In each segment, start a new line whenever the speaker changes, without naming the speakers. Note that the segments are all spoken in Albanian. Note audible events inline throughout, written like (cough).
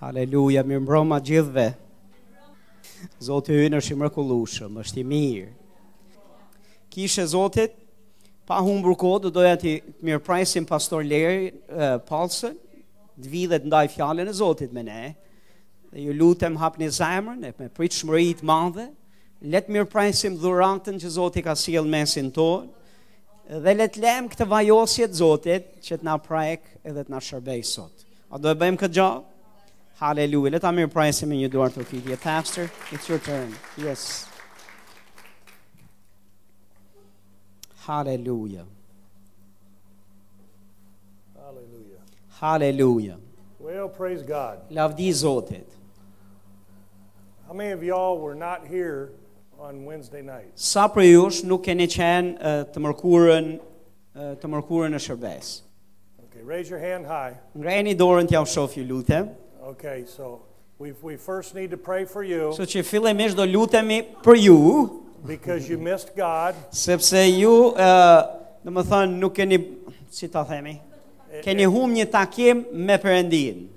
Haleluja, mirë mbroma gjithve. Zotë hyn është i mrekullueshëm, është i mirë. Kishe Zotit, pa humbur kohë, do doja ti mirëprajsim pastor Leri eh, Palsën, të vidhet ndaj fjalën e Zotit me ne. Dhe ju lutem hapni zemrën e me pritshmëri të madhe. Le të mirëprajsim dhuratën që Zoti ka sjellë mesin tonë dhe le të lem këtë vajosje të Zotit që të na prajk edhe të na shërbej sot. A do e bëjmë këtë gjallë? Hallelujah. Let Amir praise him in your door to feed you. Pastor, it's your turn. Yes. Hallelujah.
Hallelujah.
Hallelujah.
Well, praise God.
Lavdi Zotit.
How many of y'all were not here on Wednesday night?
Sa për jush nuk keni qenë eh, të mërkurën eh, të mërkurën në shërbes.
Okay, raise your hand high.
Ngrejeni dorën t'ja u shoh ju lutem.
Okay, so we, we first need to pray for you
Kështu që fillimisht do lutemi për ju,
because you missed God.
sepse ju ë, do të thënë nuk keni si ta themi, keni humb një takim me Perëndin.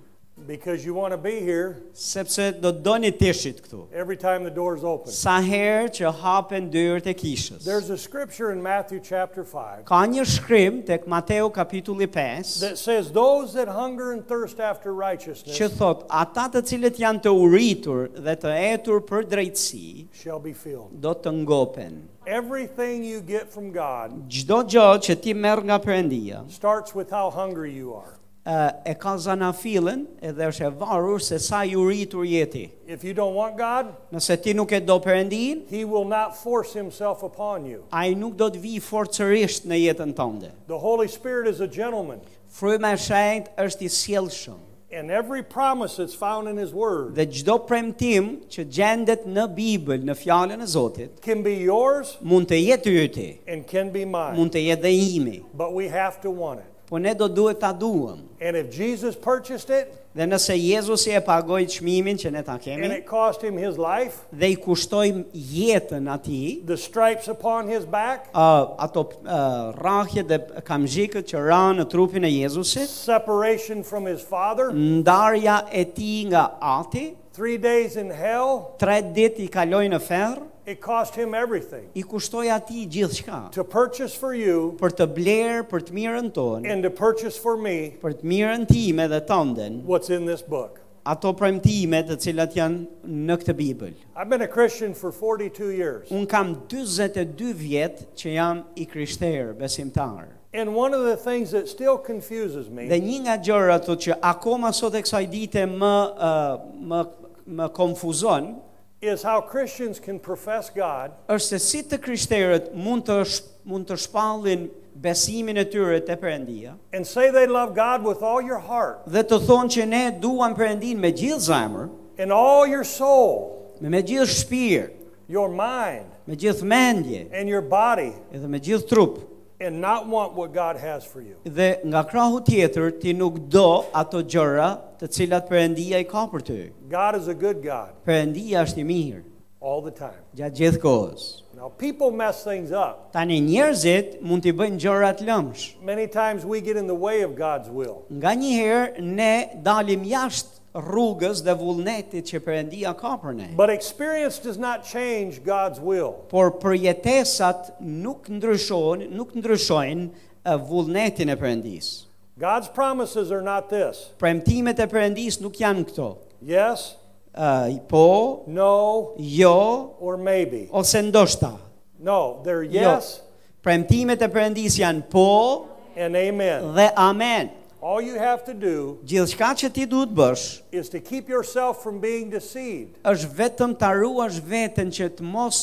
Because you want to be here
sepse do të doni të ishit këtu.
every time the door's open.
Sa herë që hapen dyrët e kishës.
There's a scripture in Matthew chapter 5
Ka një shkrim tek Mateu kapitulli 5
that says, Those that hunger and thirst after
që
righteousness
thot ata të cilët janë të uritur dhe të etur për drejtësi
shall be filled.
do të ngopen.
Everything you get from God
Çdo gjë që ti merr nga Perëndia,
starts with how hungry you are.
ë, e ka zanafillën edhe është e varur se sa i uritur jeti.
If you don't want God,
Nëse ti nuk e do Perëndin,
He will not force Himself upon you.
ai nuk do të vijë forcërisht në jetën tënde.
The Holy Spirit is a gentleman,
Fryma e shenjtë është i sjellshëm.
and every promise that's found in His Word
Dhe gjdo premtim që gjendet në Bibël, në fjallën e Zotit,
can be yours
mund të jetë yti,
and can be mine.
mund të jetë dhe imi,
But we have to want it.
po ne do duhet ta duam.
And if Jesus purchased it
Dhe nëse Jezusi e pagoj çmimin që ne ta
and
kemi
it cost Him His life,
dhe i kushtoj jetën atij,
the stripes upon His back
uh, ato uh, rrahje dhe kamzhikët që ranë në trupin e Jezusit,
separation from his father,
ndarja e tij nga Ati,
three days in hell,
tre ditë i kaloi në ferr,
it cost him everything
i kushtoj atij gjithçka
to purchase for you
për të blerë për të mirën tonë.
and to purchase for me
për të mirën time dhe tënden,
what's in this book.
ato premtime të cilat janë në këtë Bibël.
I've been a Christian for 42 years,
Un kam 42 vjet që jam i krishterë, besimtar.
and one of the things that still confuses
Dhe
me
një nga gjërat ato që akoma sot e kësaj dite më ë, më më konfuzon
is how Christians can profess God
është se si të krishterët mund të sh- mund të shpallin besimin e tyre te Perëndia
and say they love God with all your heart
dhe të thonë që ne duam Perëndin me gjithë zemër,
and all your soul,
me, me gjithë shpirt,
your mind,
me gjithë mendje
and your body,
edhe me gjithë trup.
and not want what God has for you.
Dhe nga krahu tjetër ti nuk do ato gjëra të cilat Perëndia i ka për ty.
God is a good God
Perëndia është i mirë
all the time.
gjatë gjithë kohës.
Now, people mess things up.
Tani njerëzit mund t'i bëjnë gjëra të lëmsh.
Many times we get in the way of God's will.
Nga një herë ne dalim jashtë rrugës dhe vullnetit që Perëndia ka për ne.
But experience does not change God's will.
Por përjetesat nuk ndryshojnë, nuk ndryshojnë eh, vullnetin e Perëndisë.
God's promises are not this
Premtimet e Perëndisë nuk janë këto.
yes,
Ë, po,
no,
jo
or maybe.
ose ndoshta.
No, they're yes
Jo. Premtimet e Perëndis janë po
and amen.
dhe amen.
All you have to do
Gjithçka që ti duhet bësh
is to keep yourself from being deceived
është vetëm ta ruash veten që të mos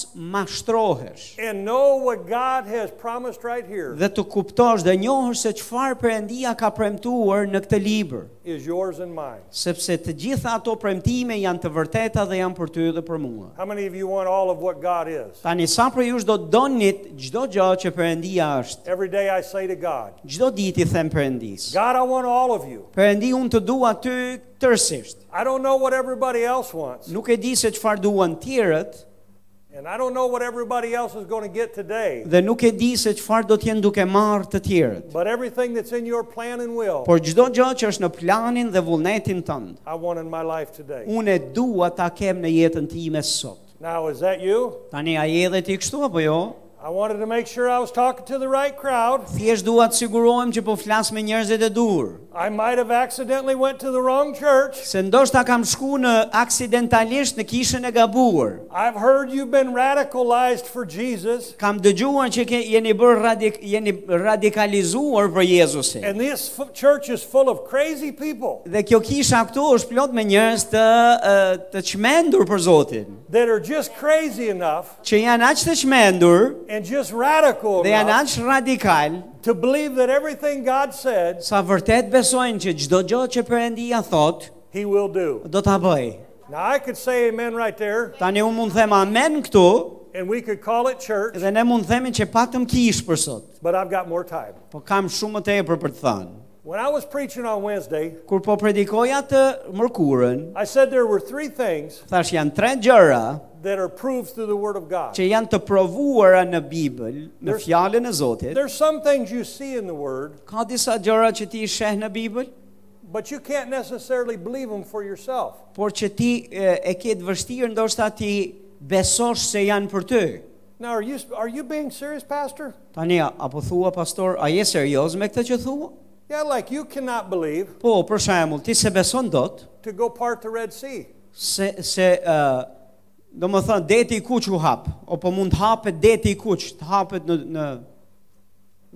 mashtrohesh
and know what God has promised right here
dhe të kuptosh dhe njohësh se çfarë Perëndia ka premtuar në këtë libër,
is yours and mine.
sepse të gjitha ato premtime janë të vërteta dhe janë për ty dhe për mua.
How many of you want all of what God is?
Tani sa për jush do të donit çdo gjë që Perëndia është.
Every day I say to God,
Çdo ditë i them Perëndis.
God, I want all of you.
Perëndi unë të dua ty tërësisht.
I don't know what everybody else wants,
Nuk e di se çfarë duan tjerët,
And I don't know what everybody else is going to get today,
Dhe nuk e di se çfarë do të jenë duke marrë të tjerët.
but everything that's in your plan and will,
Por çdo gjë që është në planin dhe vullnetin tënd,
I want in my life today.
unë e dua ta kem në jetën time sot.
Now, is that you?
Tani a je edhe ti kështu apo jo?
I wanted to make sure I was talking to the right crowd.
Thjesht dua të sigurohem që po flas me njerëzit e dur.
I might have accidentally went to the wrong church.
Se ndoshta kam shku në aksidentalisht në kishën e gabuar.
I've heard you've been radicalized for Jesus,
Kam dëgjuar që ke, jeni bërë radik, jeni radikalizuar për Jezusin.
and this f- church is full of crazy people
Dhe kjo kisha këtu është plot me njerëz të eh, të çmendur për Zotin,
that are just crazy enough
që janë aq të çmendur
and just radical
dhe janë
enough
aq radikal
to believe that everything God said,
sa vërtet besojnë që çdo gjë që Perëndia thot
He will do.
do ta bëj.
Now, I could say amen right there,
Tani unë mund të them amen këtu
and we could call it church,
dhe ne mund të themi që patëm kish për sot,
but I've got more time.
po kam shumë më tepër për të thënë.
When I was preaching on Wednesday,
Kur po predikoja të mërkurën,
I said there were three things
thash janë tre gjëra
that are proved through the Word of God.
që janë të provuara në Bibël, në
There's-
fjalën e Zotit.
There's some things you see in the Word,
Ka disa gjëra që ti i sheh në Bibël,
but you can't necessarily believe them for yourself.
por që ti e, e ke të vështirë ndoshta ti besosh se janë për ty.
Now, are you, are you being serious, Pastor?
Tani, a- apo thua pastor, a je serioz me këtë që thua?
Yeah, like you cannot believe
Po, për shembull, ti se beson dot
to go part the Red Sea.
se se ë do më thënë, deti i kuq u hap, apo mund të hapet deti i kuq, të hapet në, në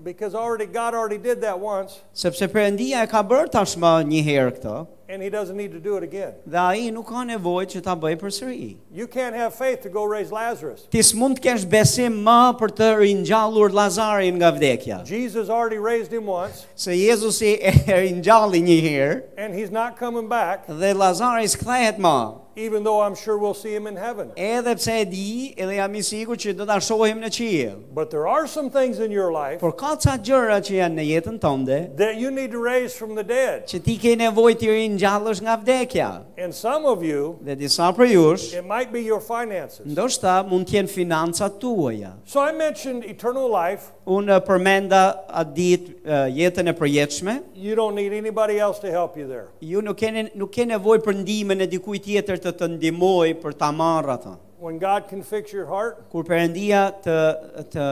Because already God already did that once,
sepse Perëndia e ka bërë tashmë një herë këtë
and He doesn't need to do it again.
dhe ai nuk ka nevojë që ta bëj përsëri.
You can't have faith to go raise Lazarus.
Ti s'mund të kesh besim më për të ringjallur Lazarin nga vdekja.
Jesus already raised him once,
Se Jezusi e ringjalli një herë
and he's not coming back,
dhe Lazari s'kthehet më.
even though I'm sure we'll see him in heaven.
Edhe pse e di, edhe jam i sigurt që do ta shohim në qiell.
But there are some things in your life
Por ka ca gjëra që janë në jetën tënde
that you need to raise from the dead.
që ti ke nevojë të ringjallësh nga vdekja.
And some of you,
Dhe disa për jush,
it might be your finances.
ndoshta mund të jenë financat tuaja.
So I mentioned eternal life.
Unë eh, përmenda atë ditë eh, jetën e përjetshme.
You don't need anybody else to help you there.
Ju nuk keni nuk ke nevojë për ndihmën e dikujt tjetër të të ndihmoj për ta marrë atë.
When God can fix your heart
Kur Perëndia të të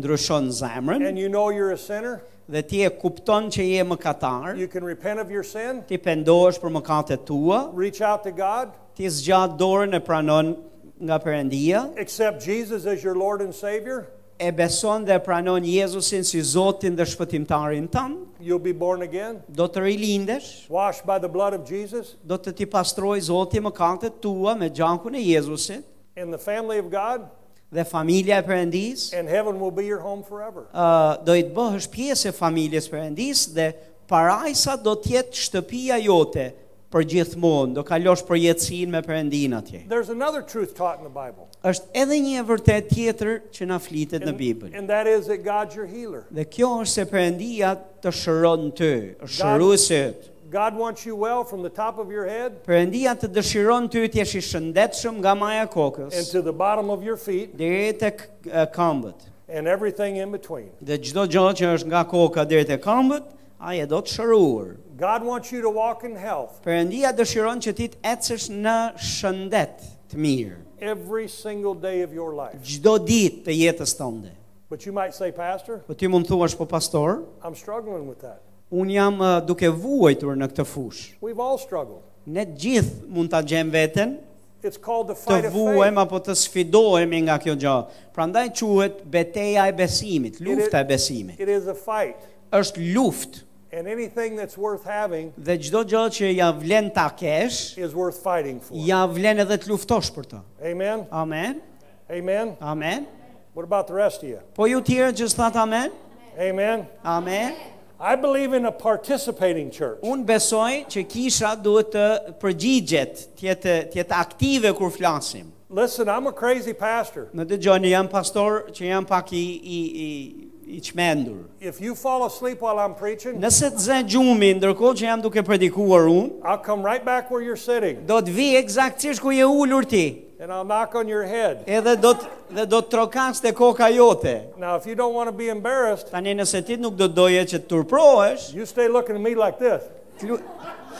ndryshon zemrën
and you know you're a sinner,
dhe ti e kupton që je mëkatar,
you can repent of your sin,
ti pendohesh për mëkatet tua,
reach out to God,
ti zgjat dorën e pranon nga Perëndia,
accept Jesus as your Lord and Savior,
e beson dhe e pranon Jezusin si Zotin dhe shpëtimtarin tënd,
you'll be born again,
do të rilindesh,
washed by the blood of Jesus
do të ti pastroj Zoti mëkatet tua me gjakun e Jezusit
in the family of God,
dhe familja e Perëndisë.
and heaven will be your home forever.
uh, do i të bëhesh pjesë e familjes perëndis dhe parajsa do të jetë shtëpia jote për gjithmonë, do kalosh përjetësinë me Perëndin atje.
There's another truth taught in the Bible,
Është edhe një e vërtet tjetër që na flitet në
and,
Bibël.
and that is that God's your healer.
Dhe kjo është se Perëndia të shëron ty, është shëruesi yt.
God wants you well from the top of your head
Perëndia të dëshiron ty të jesh i shëndetshëm nga maja e
and
kokës
to the bottom of your feet
deri tek e, këmbët.
and everything in between.
Dhe çdo gjë që është nga koka deri tek këmbët, ai e do të shëruar.
God wants you to walk in health
Perëndia dëshiron që ti të ecësh në shëndet të mirë,
every single day of your life.
çdo ditë të jetës tënde.
But you might say, Pastor,
Po ti mund thuash po pastor,
I'm struggling with that.
un jam ë, duke vuajtur në këtë fushë.
We've all struggled.
Ne të gjithë mund ta gjem veten,
It's called the fight
të
of faith.
vuajmë apo të sfidohemi nga kjo gjë. Prandaj quhet beteja e besimit, lufta e besimit.
It is a fight.
Është luftë
And anything that's worth having
dhe çdo gjë që ja vlen ta kesh,
is worth fighting for.
ja vlen edhe të luftosh për të.
Amen?
Amen.
Amen?
Amen.
What about the rest of you?
Po ju tjerë që s'that amen?
Amen?
Amen.
I believe in a participating church.
Unë besoj që kisha duhet të përgjigjet, tjetë, tjetë aktive kur flasim.
Listen, I'm a crazy pastor.
Në të gjoni, jam pastor që jam pak i, i, i, i qmendur.
If you fall asleep while I'm preaching,
Nëse të zë gjumi, ndërkohë që jam duke predikuar unë,
I'll come right back where you're sitting.
do të vi eksaktësisht ku je ullur ti.
and I'll knock on your head.
Edhe do të dhe do të trokas te koka jote.
Now, if you don't want to be embarrassed,
Tani nëse ti nuk do doje që të turprohesh,
you stay looking at me like this.
klu-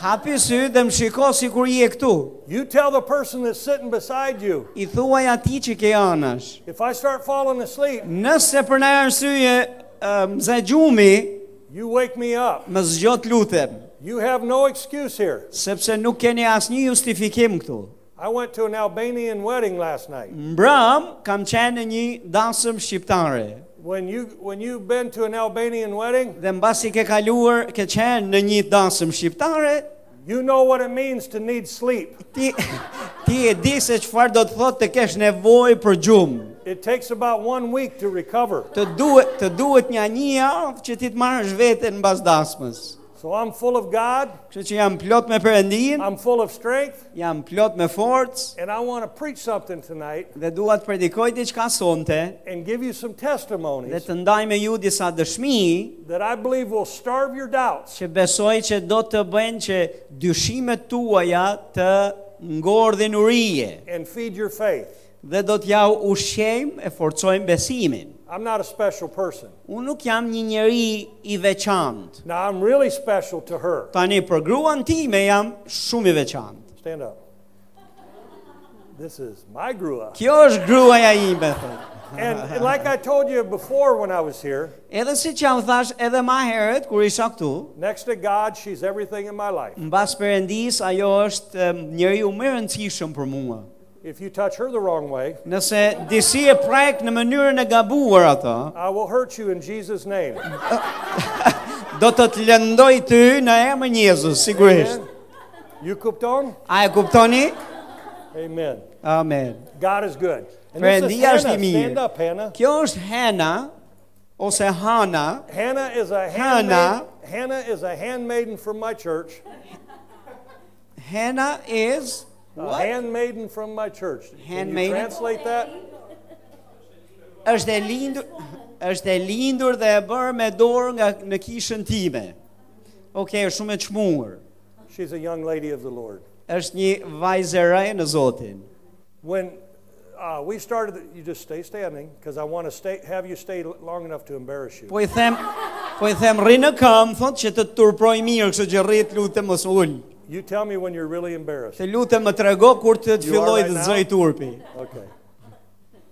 hapi sy dhe më shiko si kur je këtu.
You tell the person that's sitting beside you,
I thuaj ati që ke anash.
if I start falling asleep,
Nëse për në arsye ë, më zë gjumi,
you wake me up.
më zgjot lutem,
You have no excuse here.
sepse nuk keni asnjë justifikim këtu.
I went to an Albanian wedding last night.
Mbram kam qenë në një dasëm shqiptare.
When you when you've been to an Albanian wedding,
Dhe mbasi ke kaluar, ke qenë në një dasëm shqiptare,
you know what it means to need sleep.
ti ti e di se çfarë do të thotë të kesh nevojë për gjumë.
It takes about one week to recover.
Të duhet të duhet një një javë që ti të marrësh veten mbas dasmës.
So I'm full of God,
Kështu që jam plot me Perëndin,
I'm full of strength,
jam plot me forcë
and I want to preach something tonight
dhe dua të predikoj diçka sonte
and give you some
dhe
testimonies
të ndaj me ju disa dëshmi
that I believe will starve your doubts
që besoj që do të bëjnë që dyshimet tuaja të ngordhin urije
and feed your faith.
dhe do t'ja ushqejmë e forcojmë besimin.
I'm not a special person.
Unë nuk jam një njeri i veçantë.
Now I'm really special to her.
Tani për gruan time jam shumë i veçantë.
Stand up. This is my grua.
Kjo është gruaja ime thotë.
And, and like I told you before when I was here,
Edhe si që jam thash edhe ma herët kur isha këtu,
next to God, she's everything in my life.
mbas Perëndis ajo është em, njeriu më i rëndësishëm për mua.
If you touch her the wrong way,
Nëse disi e prek në mënyrën e gabuar ato,
I will hurt you in Jesus' name.
do të të lëndoj ty në emrin e Jezus, sigurisht.
Amen. You cooked on?
A e kuptoni?
Amen.
Amen.
God is good. And
Friend,
this is
he asked
Hannah.
me-
Stand up, Hannah.
Kjo është Hena ose Hana,
Hannah is a handmaid.
Hannah.
Hannah is a handmaiden from my church.
Hena is
A
what?
handmaiden from my church. Can you
Handmaiden?
translate that?
Është e lindur, është e lindur dhe e bërë me dorë nga në kishën time. Okej, është shumë e çmuar.
She's a young lady of the Lord.
Është një vajzë e re në Zotin.
When uh, we started, the- you just stay standing because I want to stay, have you stay l- long enough to embarrass you.
Po i them, po i them rri në këmbë, thotë që të të turproj mirë, kështu që rri të lutem mos ul.
You tell me when you're really embarrassed.
Të lutem më trego kur të të
You are
filloj
right
të
now?
zëj turpi.
Okay.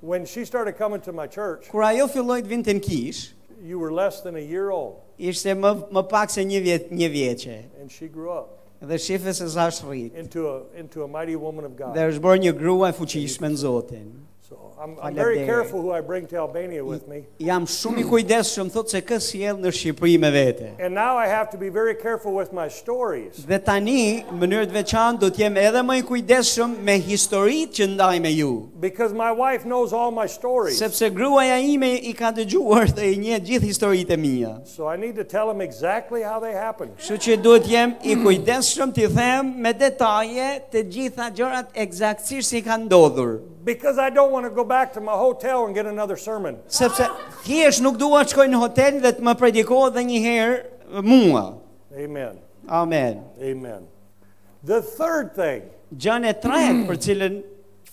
When she started coming to my church,
Kur ajo filloi të vinte në kishë,
you were less than a year old,
ishte më më pak se një vjet një vjeçe
and she grew up
dhe shife se sa është rrit.
into a into a mighty woman of God.
Dhe është bërë një grua e fuqishme në Zotin.
So I'm, I'm very
Faladere.
careful who I bring to Albania with me.
Jam shumë i kujdesshëm thotë se kë sjell në Shqipëri me vete.
And now I have to be very careful with my stories
Dhe tani, në mënyrë të veçantë do të jem edhe më i kujdesshëm me historitë që ndaj me ju,
because my wife knows all my stories.
sepse gruaja ime i ka dëgjuar dhe i njeh gjithë historitë e mia.
So I need to tell them exactly how they happened.
Kështu që duhet jem i kujdesshëm t'i them me detaje të gjitha gjërat eksaktësisht si kanë ndodhur,
Because I don't want to go back to my hotel and get another sermon.
sepse thjesht nuk dua të shkoj në hotel dhe të më predikohet edhe një herë mua.
Amen.
Amen.
Amen. The third thing
Gjën e tretë për cilën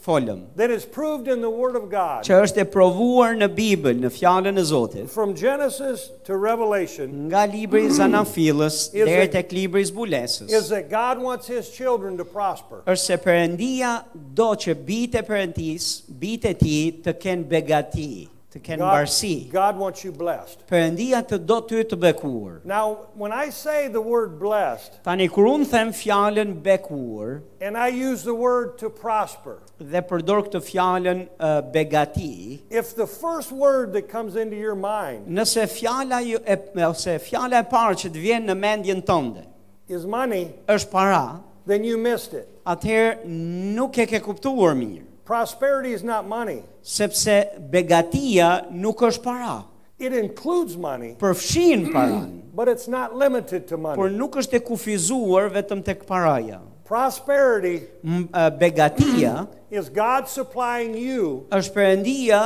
folëm,
that is proved in the Word of God
që është e provuar në Bibël, në fjalën e Zotit,
from Genesis to Revelation
nga libri i Zanafillës
Is
deri
it-
tek libri i Zbulesës.
is that God wants His children to prosper.
është se Perëndia do që bitë e Perëndis, bitë e tij të kenë begati, të kenë
God,
mbarësi.
God wants you blessed.
Perëndia të do ty të bekuar.
Now, when I say the word blessed,
Tani kur unë them fjalën bekuar
and I use the word to prosper,
dhe përdor këtë fjalën uh, begati,
if the first word that comes into your mind
nëse fjala ju- e ose fjala e parë që të vjen në mendjen tënde
is money,
është para,
then you missed it.
atëherë nuk e ke kuptuar mirë,
Prosperity is not money,
sepse begatia nuk është para.
it includes money,
Përfshin paran,
but it's not limited to money.
por nuk është e kufizuar vetëm tek paraja.
Prosperity
M- e, Begatia (clears throat)
is God supplying you.
është Perëndia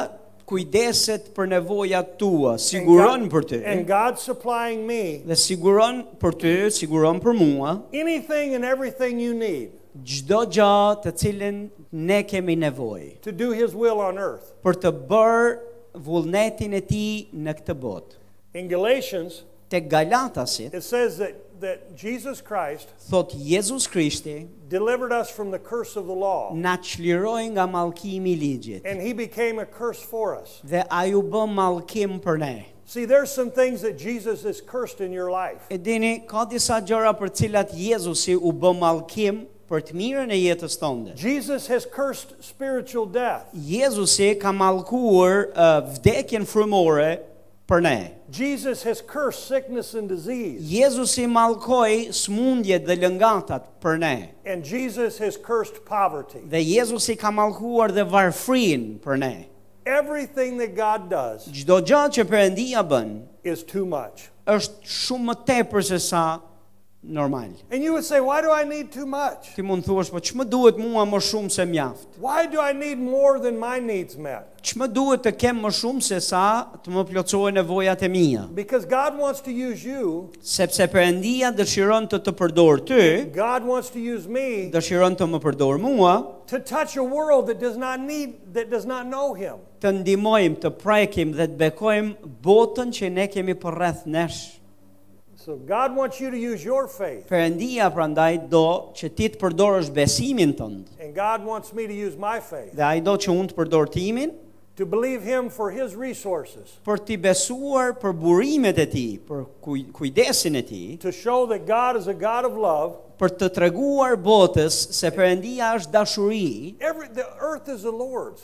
kujdeset për nevojat tua,
and
siguron
God-
për ty.
And God supplying me
Dhe siguron për ty, siguron për mua
anything and everything you need.
çdo gjë të cilën ne kemi nevojë
to do His will on earth.
për të bërë vullnetin e tij në këtë botë.
In Galatians,
Tek Galatasit
it says that, that Jesus Christ
thot Jezus Krishti
delivered us from the curse of the law,
na çliroi nga mallkimi i ligjit
and He became a curse for us.
dhe ai u bë mallkim për ne.
See, there's some things that Jesus is cursed in your life.
E dini, ka disa gjëra për cilat Jezusi u bë mallkim për të mirën e jetës tonë.
Jesus has cursed spiritual death.
Jezusi ka mallkuar uh, vdekjen frymore për ne.
Jesus has cursed sickness and disease.
Jezusi mallkoi smundjet dhe lëngatat për ne.
And Jesus has cursed poverty.
Dhe Jezusi ka mallkuar dhe varfrin për ne.
Everything that God does
Çdo gjë që Perëndia bën
is too much.
është shumë më tepër se sa normal.
And you would say, why do I need too much?
Ti mund thuash, po ç'më duhet mua më shumë se mjaft?
Why do I need more than my needs met?
Ç'më duhet të kem më shumë se sa të më plotësohen nevojat e mia?
Because God wants to use you,
Sepse Perëndia dëshiron të të përdor ty,
God wants to use me
dëshiron të më përdor mua,
to touch a world that does not need that does not know him.
të ndihmojmë, të prekim dhe të bekojmë botën që ne kemi përreth nesh.
So God wants you to use your faith
Perëndia prandaj do që ti të përdorësh besimin tënd.
and God wants me to use my faith
Dhe ai do që unë të përdor timin
to believe him for his resources
për t'i besuar për burimet e tij, për kuj, kujdesin e tij,
to show that God is a God of love.
për të treguar botës se Perëndia është dashuri.
Every the earth is the Lord's.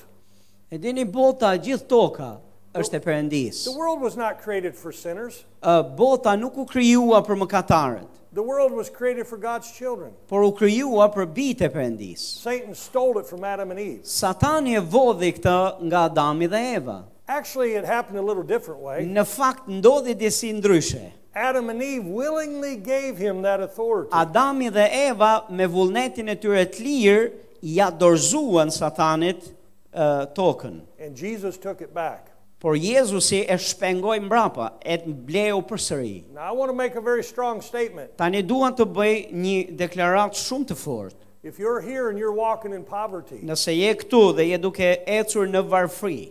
E dini bota, gjithë toka është e Perëndisë.
The world was not created for sinners.
Ë, Bota nuk u krijuar për mëkatarët,
The world was created for God's children.
por u krijuar për bijtë e Perëndisë.
Satan stole it from Adam and Eve.
Satani e vodhi këtë nga Adami dhe Eva.
Actually, it happened a little different way.
Në fakt ndodhi disi ndryshe.
Adam and Eve willingly gave him that authority.
Adami dhe Eva me vullnetin e tyre të lirë ja dorëzuan Satanit ë, tokën.
And Jesus took it back.
Por Jezusi e shpengoi mbrapa, e të mbleu përsëri.
Now, I want to make a very strong statement.
Tani duan të bëj një deklaratë shumë të fortë.
If you're here and you're walking in poverty,
Nëse je këtu dhe je duke ecur në varfri,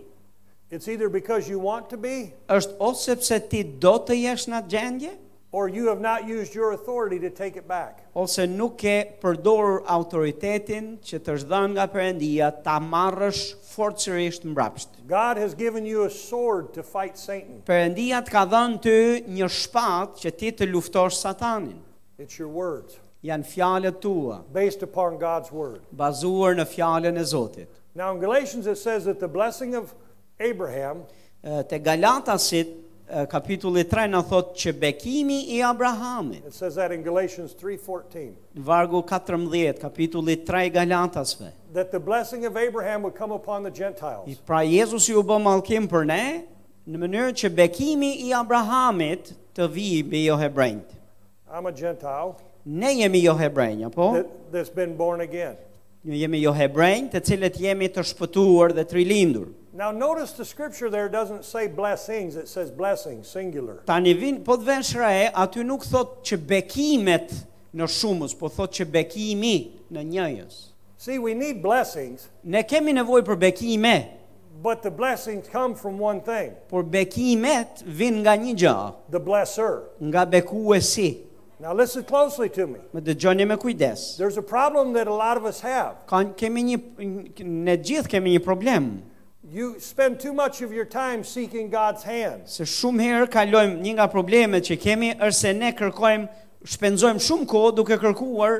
it's either because you want to be
është ose sepse ti do të jesh në atë gjendje,
or you have not used your authority to take it back.
ose nuk ke përdorur autoritetin që të është dhënë nga Perëndia ta marrësh forcërisht mbrapsht.
God has given you a sword to fight Satan,
Perëndia të ka dhënë ty një shpatë që ti të luftosh Satanin.
it's your words,
Janë fjalët tua,
based upon God's word.
bazuar në fjalën e Zotit.
Now, in Galatians, it says that the blessing of Abraham
Ë, Te Galatasit ë, kapitulli 3 na thot që bekimi i Abrahamit,
It says that in Galatians 3:14
vargu 14 kapitulli 3 i Galatasve.
that the blessing of Abraham would come upon the
I-
Gentiles.
Pra Jezusi u bë mallkim për ne në mënyrë që bekimi i Abrahamit të vijë mbi jo hebrejt.
I'm a Gentile
Ne jemi jo hebrenj, apo?
that, that's been born again.
Ne jemi jo hebrenj, të cilët jemi të shpëtuar dhe të rilindur.
Now notice the scripture there doesn't say blessings, it says blessings singular.
Tani vin, po të vesh re, aty nuk thot që bekimet në shumës, po thot që bekimi në njëjës.
See, we need blessings,
Ne kemi nevojë për bekime,
but the blessings come from one thing,
por bekimet vijnë nga një gjë,
the blesser.
nga bekuesi.
Now listen closely to me.
Më dëgjoni me kujdes.
There's a problem that a lot of us have.
Ka, kemi një, ne gjithë kemi një problem,
You spend too much of your time seeking God's hand.
se shumë herë kalojmë një nga problemet që kemi, është se ne kërkojmë, shpenzojmë shumë kohë duke kërkuar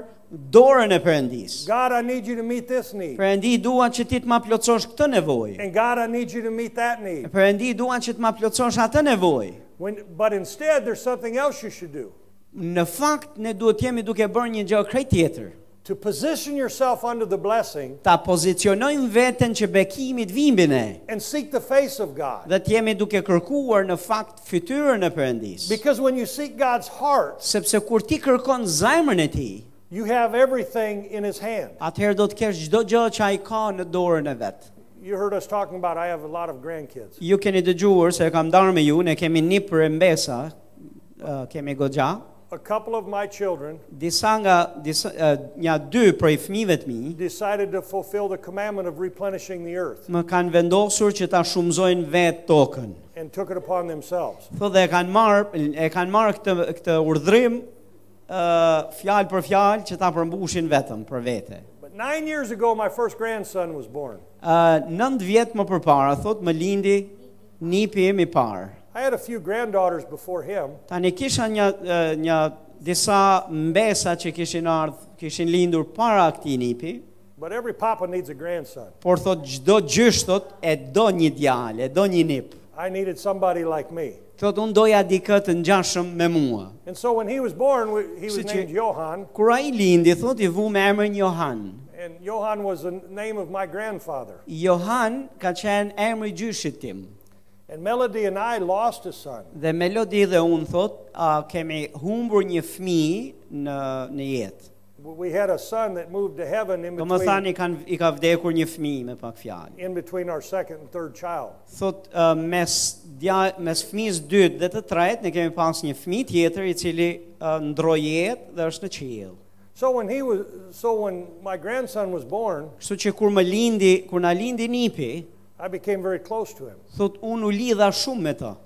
dorën e Perëndis.
God, I need you to meet this need.
Perëndi dua që ti të ma plotësosh këtë nevojë.
And God, I need you to meet that need.
Perëndi dua që të ma plotësosh atë nevojë.
When, but instead, there's something else you should do.
Në fakt ne duhet jemi duke bërë një gjë krejt tjetër.
To position yourself under the blessing
Ta pozicionojmë veten që bekimi të vimbi ne
and seek the face of God.
dhe të jemi duke kërkuar në fakt fytyrën e Perëndis.
Because when you seek God's heart,
Sepse kur ti kërkon zajmën e tij,
you have everything in His hand.
atëherë do të kesh çdo gjë që ai ka në dorën e vet.
You heard us talking about I have a lot of grandkids.
Ju keni dëgjuar se e kam ndarë me ju, ne kemi një për mbesa, uh, kemi goxha.
a couple of my children
Disa nga disa, eh, nja dy prej fëmijëve të mi
decided to fulfill the commandment of replenishing the earth
më kanë vendosur që ta shumëzojnë vetë tokën.
and took it upon themselves.
Thotë dhe e kanë marrë e kanë marrë këtë këtë urdhërim ë fjalë për fjalë që ta përmbushin vetëm për vete.
But nine years ago, my first grandson was born.
Ë 9 vjet më përpara thotë më lindi nipi im i parë.
I had a few granddaughters before him,
Tani kisha një eh, një disa mbesa që kishin ardhur, kishin lindur para këtij nipi,
but every papa needs a grandson.
por thot çdo gjysh thot e do një djalë, e do një nip.
I needed somebody like me.
Thot unë doja dikë të ngjashëm me mua.
And so when he was born, we, he was
Sit
named
you-
Johann,
Kur ai lindi thot i vu me emrin Johan.
and Johann was the name of my grandfather.
Johan ka qenë emri i gjyshit tim.
And Melody and I lost a son.
Dhe Melodi dhe unë thot a, kemi humbur një fëmijë në në jetë.
We had a son that moved to heaven in
Do më
between,
thani kanë i ka vdekur një fëmijë me pak fjalë.
in between our second and third child.
Thot ë, mes dja, mes fëmijës dytë dhe të tretë ne kemi pas një fëmijë tjetër i cili ë, ndroi jetë dhe është në qiell.
So when he was, so when my grandson was born,
Kështu që kur më lindi, kur na lindi nipi,
I became very close to him.
thot unë u lidha shumë me të.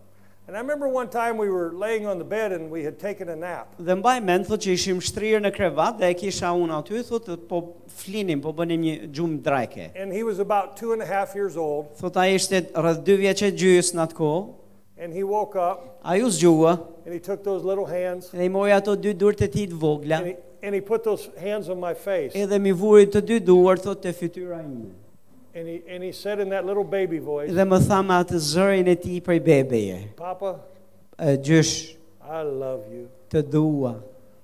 And I remember one time we were laying on the bed and we had taken a nap.
Dhe mbaj mend thot që ishim shtrirë në krevat dhe e kisha unë aty thot po flinim, po bënim një gjumë drajke.
And he was about two and a half years old.
Thot ai ishte rreth 2 vjeç e gjys në atë kohë.
And he woke up
Ai u zgjua
and he took those little hands
dhe i mori ato dy durët e tij të vogla.
and he, and he put those hands on my face.
Edhe mi vuri të dy duar thot te fytyra ime.
And he, and he said in that little baby voice,
Dhe më tha me atë zërin e tij prej bebeje.
Papa,
E, Gjysh,
I love you.
të dua.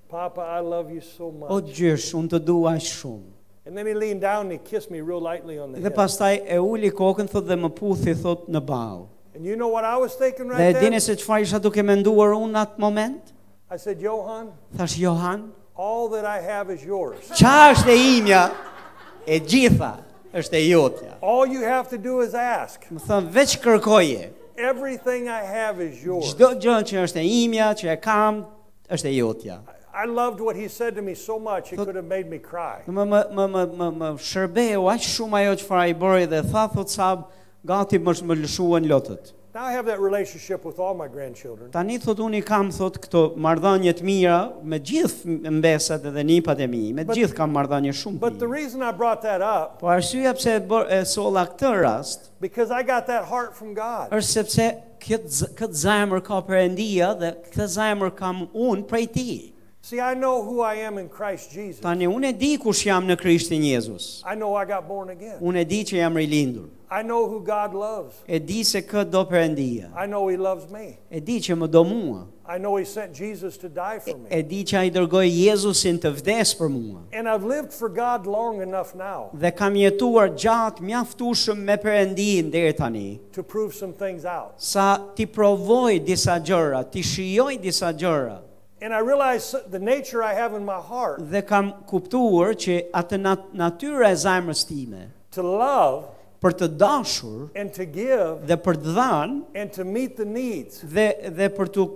Papa, I love you so much.
O gjysh, unë të dua aq shumë.
And then he leaned down and he kissed me real lightly on the
Dhe
head.
pastaj e uli kokën thot dhe më puthi thot në bau.
and you know what I was thinking
Dhe
right
e dini
then?
se çfarë isha duke menduar unë në atë moment?
I said, Johan,
Thash Johan,
all that I have is yours.
qa është e imja? E gjitha është e jotja.
All you have to do is ask.
Më thënë, veç kërkoje.
Everything I have is yours.
Çdo gjë që është e imja, që e kam, është e jotja.
I loved what he said to me so much it
Thot-
could have made me cry.
Më më më më më, më shërbeu aq shumë ajo çfarë i bëri dhe tha thot sa gati më sh- më lëshuan lotët.
Now I have that relationship with all my grandchildren.
Tani thot unë i kam thot këto marrëdhënie të mira me gjithë fm- mbesat edhe nipat e mi, me
But-
gjithë kam marrëdhënie shumë. të
But the
mira.
reason I brought that up
Po arsyeja pse e, bër, e solla këtë rast
because I got that heart from God.
është sepse këtë z- këtë zemër ka Perëndia dhe këtë zemër kam unë prej ti.
See, I know who I am in Christ Jesus.
Tani unë e di kush jam në Krishtin Jezus.
I know I got born again.
Unë e di që jam rilindur.
I know who God loves.
E di se këtë do Perëndia.
I know He loves me.
E di që më do mua.
I know He sent Jesus to die for
E
me.
di që ai dërgoi Jezusin të vdes për mua.
And I've lived for God long enough now
Dhe kam jetuar gjatë mjaftueshëm me Perëndin deri tani.
to prove some things out.
Sa ti provoj disa gjëra, ti shijoj disa gjëra
And I realize the nature I have in my heart
dhe kam kuptuar që atë nat natyra e zemrës time
to love
për të dashur
and to give
dhe për të dhënë
and to meet the needs
dhe dhe për të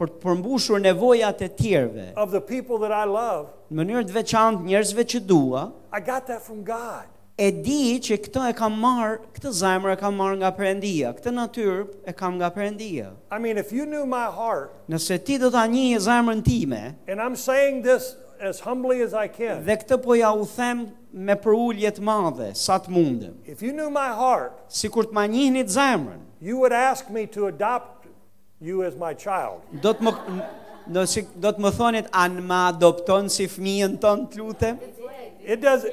për të përmbushur nevojat e tjerëve
of the people that I love.
në mënyrë të veçantë njerëzve që dua,
I got that from God.
e di që këtë e kam marr, këtë zemër e kam marr nga Perëndia, këtë natyrë e kam nga Perëndia.
I mean, if you knew my heart,
Nëse ti do ta njihe zemrën time,
and I'm saying this as humbly as I can,
dhe këtë po ja u them me përulje të madhe, sa të mundem.
if you knew my heart,
Sikur të ma njihnit zemrën,
you would ask me to adopt you as my child.
do të më do si do të më thonit an ma adopton si fëmijën tën të lutem?
It doesn't.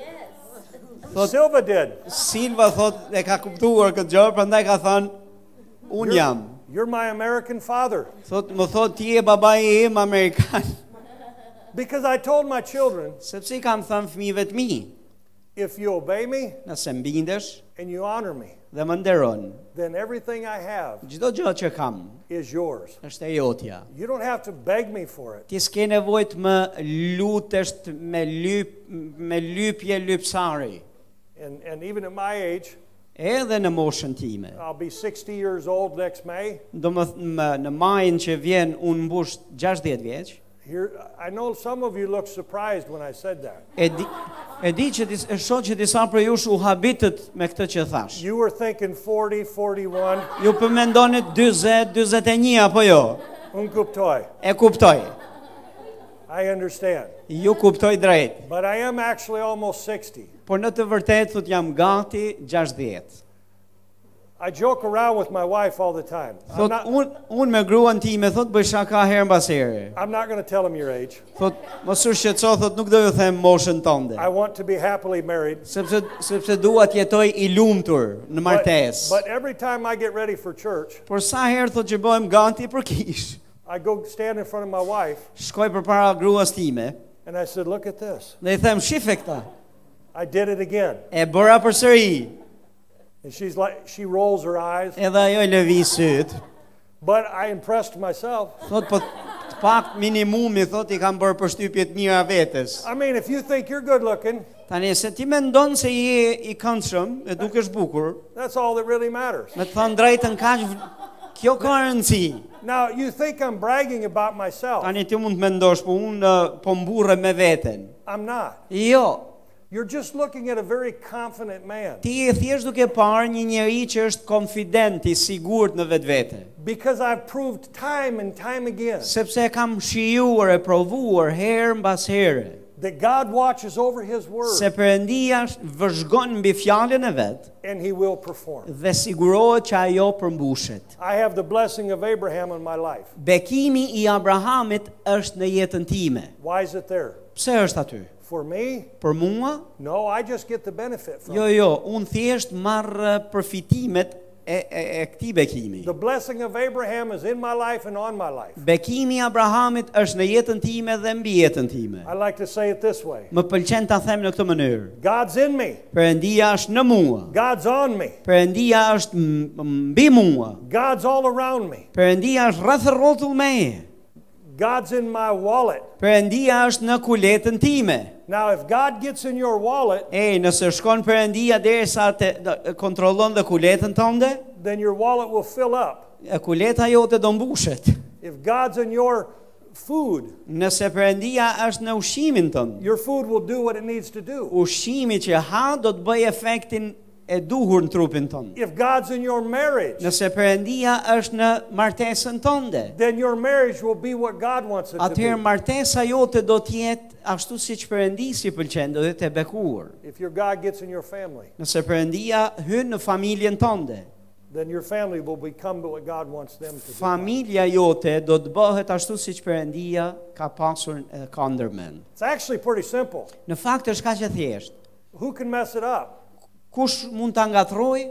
Silva did.
Silva thot e ka kuptuar këtë gjë, prandaj ka thënë un jam.
You're my American father.
Thot më thot ti je babai im amerikan, (laughs)
Because I told my children,
sepse i kam thënë fëmijëve të mi,
if you obey me
nëse mbindesh
and you honor me,
dhe më nderon,
then everything I have
çdo gjë që kam
is yours.
është e jotja.
You don't have to beg me for it.
Ti s'ke nevojë të më lutesh të- me lyp me lypje lypsari.
And, and even at my age,
Edhe në moshën time.
I'll be 60 years old next May,
Do më, th- më në majin që vjen unë mbush 60 vjeç,
Here, I know some of you looked surprised when I said that.
E di, e di që dis, e shoh që disa prej jush u habitët me këtë që thash.
You were thinking 40, 41,
Ju përmendoni 40, 41 apo jo?
unkuptoi.
E kuptoj.
I understand.
Ju kuptoj drejt.
But I am actually almost 60.
Por në të vërtetë thot jam gati 60.
I joke around with my wife all the time. I'm
Thot
not,
un un me gruan time thot bëj shaka herë mbas here.
I'm not going to tell him your age.
Thot mos u shqetëso thot nuk do ju them moshën tënde.
I want to be happily married.
Sepse sepse dua të jetoj i lumtur në
But,
martesë.
but every time I get ready for church,
Por sa herë thot që bëhem ganti për kish.
I go stand in front of my wife
Shkoj përpara gruas time
and I said, Look at this.
dhe i them shife këta.
I did it again.
E bëra përsëri.
And she's like, she rolls her eyes.
Edhe ajo i lëvi syt.
But I impressed myself.
Thot po të pak minimumi thot i kam bërë përshtypje të mira vetes.
I mean, if you think you're good looking,
Tani se ti mendon se je i këndshëm e dukesh bukur,
that's all that really matters.
me të thënë drejtën kaq v- kjo ka rëndësi.
Now, you think I'm bragging about myself.
Tani ti mund të mendosh, po unë ë, po mburrem me veten.
I'm not.
Jo,
You're just looking at a very confident man
ti je thjesht duke parë një njeri që është konfident, i sigurt në vetvete,
because I've proved time and time again
sepse e kam shijuar e provuar herë mbas here
that God watches over
se
His word
Perëndia sh- vëzhgon mbi fjalën e vet
and He will perform.
dhe sigurohet që ajo përmbushet.
I have the blessing of Abraham in my life.
Bekimi i Abrahamit është në jetën time.
Why is it there?
Pse është aty?
For me?
Për mua?
No, I just get the benefit from
Jo,
it.
jo, unë thjesht marr eh, përfitimet e, e, e këtij bekimi.
The blessing of Abraham is in my life and on my life.
Bekimi i Abrahamit është në jetën time dhe mbi jetën time.
I like to say it this way
Më pëlqen ta them në këtë mënyrë.
God's in me,
Perëndia është në mua.
God's on me,
Perëndia është m- mbi mua.
God's all around me,
Perëndia është rreth rrotull meje.
God's in my wallet.
Perëndia është në kuletën time.
Now, if God gets in your wallet,
Ej, nëse shkon Perëndia derisa të do- kontrollon dhe kuletën tënde,
then your wallet will fill up.
e kuleta jote do mbushet.
If God's in your food,
Nëse Perëndia është në ushimin tënd,
your food will do what it needs to do.
ushqimi që ha do të bëj efektin e duhur në trupin tonë.
If God's in your marriage,
Nëse Perëndia është në martesën tënde,
then your marriage will be what God wants it to
atëherë
be.
martesa jote do të jetë ashtu siç Perëndisi pëlqen, do të jetë e bekuar.
If your God gets in your family,
Nëse Perëndia hyn në familjen tënde,
then your family will become what God wants them to be.
familja jote do të bëhet ashtu siç Perëndia ka pasur e ka ndërmend.
It's actually pretty simple.
Në fakt është kaq e thjeshtë.
Who can mess it up?
Kush mund ta ngatrojë?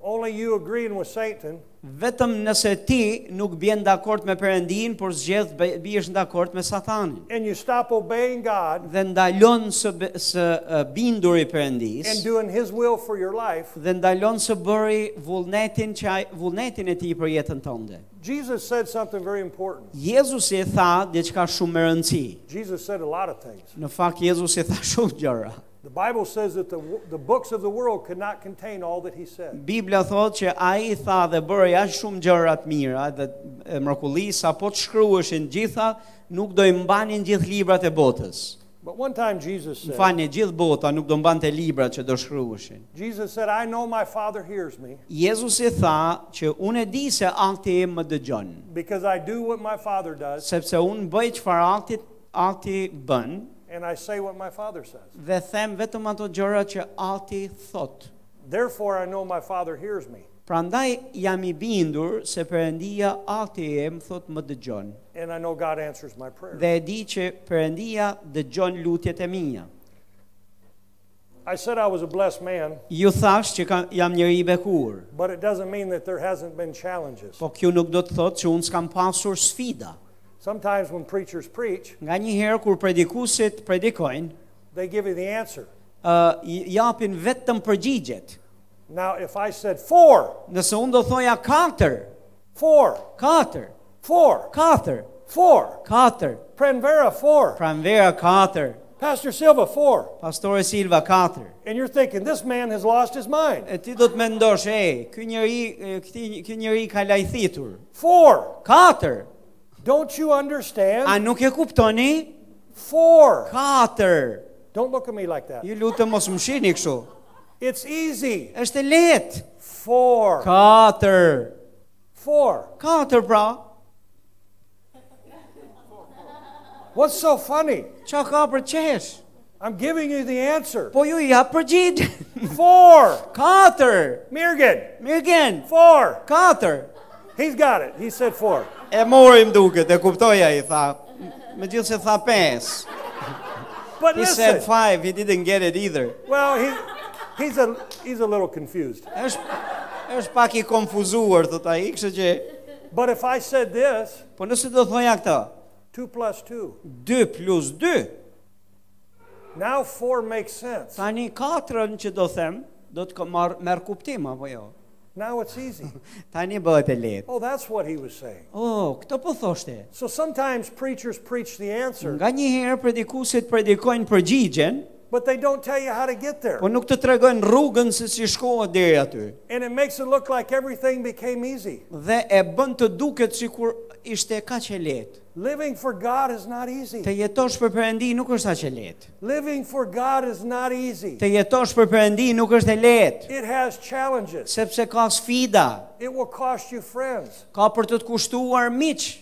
Only you agreeing with Satan
Vetëm nëse ti nuk bjen dakord me Perëndin, por zgjedh bë- biesh në dakord me Satanin.
and you stop obeying God
dhe ndalon së, be- së e, binduri përëndis
and doing His will for your life.
dhe ndalon së bëri vullnetin, që ai- vullnetin e ti për jetën tënde.
Jesus said something very important.
Jezusi tha diçka shumë e rëndësi.
Jesus said a lot of things.
Në fakt Jezusi tha (laughs) shumë gjëra.
The Bible says that the, the books of the world could not contain all that he said.
Bibla thotë që ai tha dhe bëri aq shumë gjëra të mira dhe e, mrekullisë apo të shkruheshin gjitha, nuk do i mbanin gjithë librat e botës.
But one time Jesus
Më
said,
falni, gjithë bota nuk do mbante librat që do shkruheshin.
Jesus said, I know my Father hears me
Jezusi tha që unë e di se akti im më dëgjon.
because I do what my Father does
sepse unë bëj çfarë akti akti bën
and I say what my Father says.
dhe them vetëm ato gjëra që akti thot.
Therefore, I know my Father hears me
Prandaj jam i bindur se Perëndia akti im thot më dëgjon
and I know God answers my prayer.
dhe e di që Perëndia dëgjon lutjet e mia.
I said I was a blessed man,
Ju thash që kam, jam njëri i bekuar,
but it doesn't mean that there hasn't been challenges.
po kjo nuk do të thotë që unë s'kam pasur sfida.
Sometimes when preachers preach,
Nga një herë kur predikusit predikojnë,
they give you the answer.
uh, japin vetëm përgjigjet.
Now, if I said four,
Nëse unë do thoja 4,
four,
4,
four,
4,
four,
4,
Pranvera, four,
Pranvera 4,
Pastor Silva, four.
Pastore Silva 4.
And you're thinking, this man has lost his mind.
E ti do të mendosh, e, ky njeri, e, këti- ky njeri ka lajthitur.
Four.
4.
Don't you understand?
A nuk e kuptoni?
Four.
Katër.
Don't look at me like that.
Ju lutem mos më shihni kështu.
It's easy.
Është e lehtë.
Four.
Katër.
Four.
Katër pra.
What's so funny?
Qa ka për qesh?
I'm giving you the answer.
Po ju i hap përgjigj. (laughs)
Four.
Katër.
Mirgan.
Mirë gjen.
Four.
Katër.
He's got it. He said four.
E morim duket, e kuptoj ai tha. Megjithse tha 5.
But
He said
listen.
5, he didn't get it either.
Well, he, he's a he's a little confused.
Është është pak i konfuzuar thot ai, kështu që
But if I said this,
po nëse do thoja këtë,
two plus two,
2 plus 2,
now four makes sense.
tani 4-ën që do them, do të ko- marr merr kuptim apo jo?
Now it's easy.
Tani bëhet e lehtë.
Oh, that's what he was saying.
Oh, këtë po thoshte.
So sometimes preachers preach the answer,
Nga një herë predikuesit predikojnë përgjigjen,
but they don't tell you how to get there.
po nuk të tregojnë rrugën se si shkohet deri aty.
And it makes it look like everything became easy.
Dhe e bën të duket sikur ishte kaq e lehtë.
Living for God is not
Të
easy.
jetosh për Perëndi nuk është aq e lehtë.
Living for God is not easy.
Të jetosh për Perëndi nuk është e lehtë,
It has challenges.
sepse ka sfida,
It will cost you friends.
ka për të të kushtuar miq,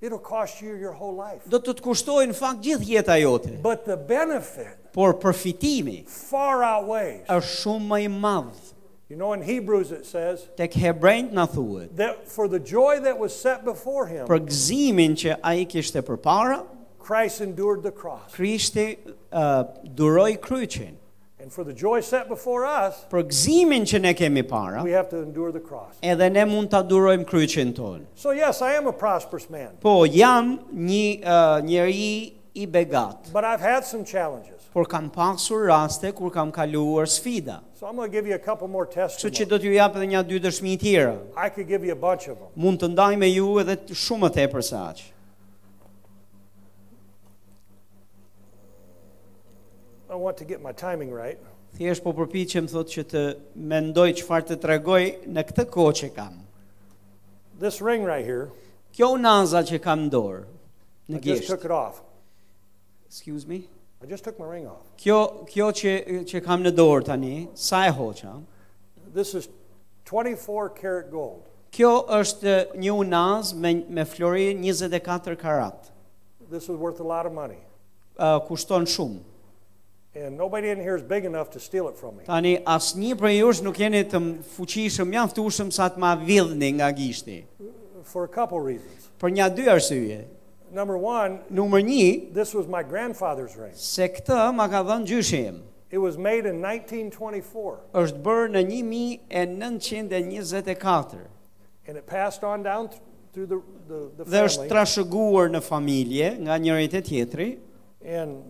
It'll cost you your whole life.
do të të kushtojë në fakt gjithë jeta jote.
But the benefit
Por përfitimi
far outweighs.
është shumë më i madh.
You know, in Hebrews it says
Tek Hebrejt na thuhet,
that for the joy that was set before him,
për gëzimin që ai kishte përpara,
Christ endured the cross.
Krishti uh, duroi kryqin.
And for the joy set before us,
Për gëzimin që ne kemi para,
we have to endure the cross.
edhe ne mund ta durojmë kryqin ton.
So, yes, I am a prosperous man,
Po jam një uh, njeri i begat.
but I've had some challenges.
por kam pasur raste kur kam kaluar sfida.
So, I'm going to give you a couple more
Kështu që
testimonies.
do t'ju jap edhe një dy dëshmi tjera.
I could give you a bunch of them.
Mund të ndaj me ju edhe t- shumë më tepër se aq.
I want to get my timing right.
Thjesht po përpiqem thotë që të mendoj çfarë të tregoj në këtë kohë që kam.
This ring right here,
Kjo unaza që kam në dorë
I
në
just
gisht.
took it off.
Excuse me.
I just took my ring off.
Kjo kjo që që kam në dorë tani, sa e hoqa?
This is 24 karat gold.
Kjo është një unaz me me flori 24 karat.
This is worth a lot of money.
Uh, kushton shumë.
And nobody in here is big enough to steal it from me.
Tani asnjë prej jush nuk jeni të m- fuqishëm, mjaftueshëm sa të ma vidhni nga gishti.
for a couple reasons.
Për një dy arsye.
Number one,
Numër 1,
this was my grandfather's ring.
se këtë ma ka dhënë gjyshi im.
It was made in 1924,
Është bërë në 1924
and it passed on down th- through the, the, the
dhe është
family.
trashëguar në familje nga njëri te tjetri
and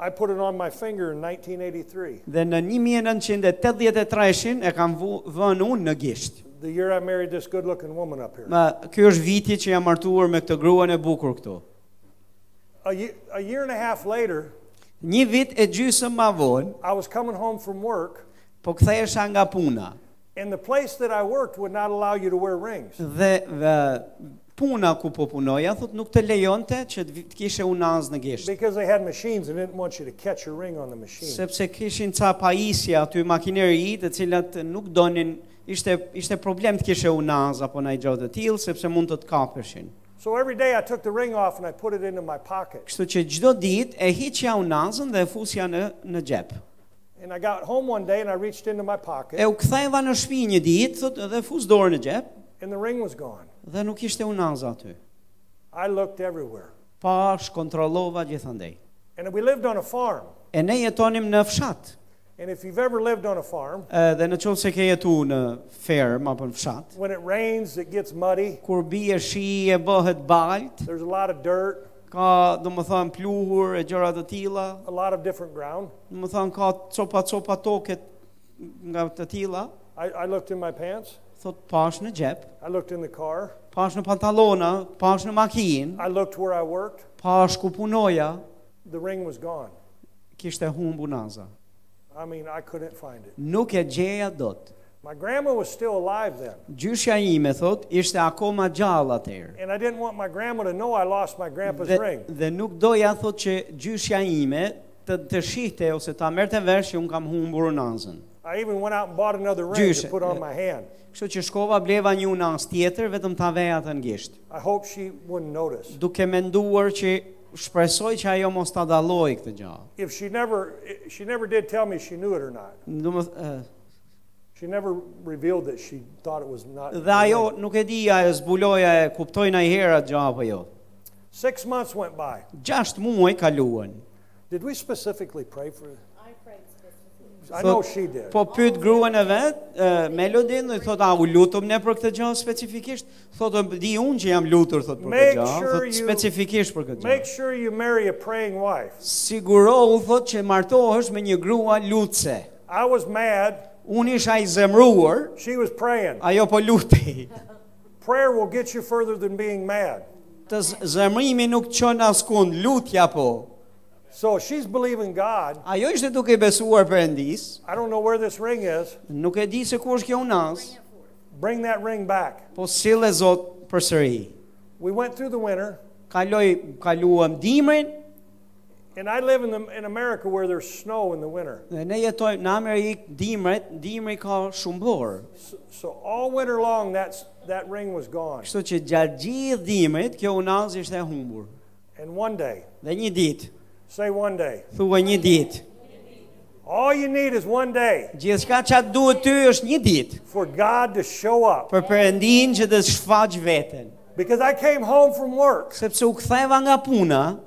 I put it on my finger in 1983,
dhe në 1983-shin e kam vu- vënë unë në gisht.
the year I married this good-looking woman up here.
Ma, ky është viti që jam martuar me këtë gruan e bukur këtu.
A, ye- a year and a half later,
Një vit e gjysëm ma vonë,
I was coming home from work,
po kthehesha nga puna.
and the place that I worked would not allow you to wear rings.
dhe, dhe puna ku po punoja, thot nuk të lejonte që të vi- të kishe unaz në gisht,
Because they had machines and didn't want you to catch your ring on the machine.
sepse kishin ca pajisja aty makineri të cilat nuk donin, ishte, ishte problem të kishe unaz apo në i gjotë të tilë, sepse mund të të kapeshin.
So every day I took the ring off and I put it into my pocket.
Kështu që gjdo dit e hiqja unazën dhe e fusja në, në gjep.
And I got home one day and I reached into my pocket.
E u ktheva në shpi një dit, thot edhe e fus dorë në gjep,
and the ring was gone.
dhe nuk ishte unaz aty.
I looked everywhere.
Pash, kontrollova gjithandej.
And we lived on a farm.
E ne jetonim në fshat,
And if you've ever lived on a farm,
e, dhe në qovë se ke jetu në ferm apo në fshat,
when it rains, it gets muddy.
kur bie shi e bëhet balt,
There's a lot of dirt,
ka do më thënë pluhur e gjëra të tilla,
a lot of different ground.
do më thënë ka copa copa toket nga të tilla,
I, I looked in my pants.
thot pash në xhep,
I looked in the car.
pash në pantallona, pash në makinë,
I looked where I worked.
pash ku punoja,
The ring was gone.
kishte humbu naza.
I mean, I couldn't find it.
Nuk e gjeja dot.
My grandma was still alive then,
Gjyshja ime thot ishte akoma gjallë atëherë.
and I didn't want my grandma to know I lost my grandpa's
Dhe,
ring.
dhe nuk doja thot që gjyshja ime të të shihte ose ta merrte vesh që un kam humbur unazën.
I even went out and bought another ring to
Gjyshe.
put on my hand.
Kështu që shkova bleva një unaz tjetër vetëm ta veja atë në gisht.
I hope she wouldn't notice.
Duke menduar që shpresoj që ajo mos ta dalloj këtë gjë.
If she never, she never did tell me she knew it or not.
Do më th- eh,
She never revealed that she thought it was not.
dhe ajo nuk e di ajo zbuloja e kuptoj ndonjëherë atë gjë apo jo.
Six months went by.
6 muaj kaluan.
Did we specifically pray for?
I prayed specifically.
I
Thot-
know she did.
Po pyet gruan e vet, e, Melodin, dhe i thot, "A u lutëm ne për këtë gjë specifikisht?" Thotë, "Di unë që jam lutur thot për
Make
këtë gjë."
sure
thot,
you-
specifikisht për këtë
Make
gjë.
sure you marry a praying wife.
Sigurohu thot që martohesh me një grua lutse.
I was mad.
Unë isha i zemruar,
She was praying.
ajo po lutej.
Prayer will get you further than being mad.
Të z- zemrimi nuk çon askund, lutja po.
So she's believing God.
Ajo ishte duke besuar Perëndis,
I don't know where this ring is.
nuk e di se ku është kjo unas,
Bring that ring back.
po sille Zot përsëri.
We went through the winter,
Kaloj kaluam dimrin,
and I live in, the, in America where there's snow in the winter.
Dhe ne jetojmë në Amerikë dimret, dimri ka shumë borë.
So, so all winter long, that's, that ring was gone.
Kështu që gjatë gjithë dimrit, kjo unaz ishte e humbur.
And one day,
Dhe një ditë,
say one day,
thua një ditë,
all you need is one day
gjithçka që atë duhet ty është një ditë,
for God to show up.
për përëndin që të shfaq veten.
Because I came home from work
Sepse u ktheva nga puna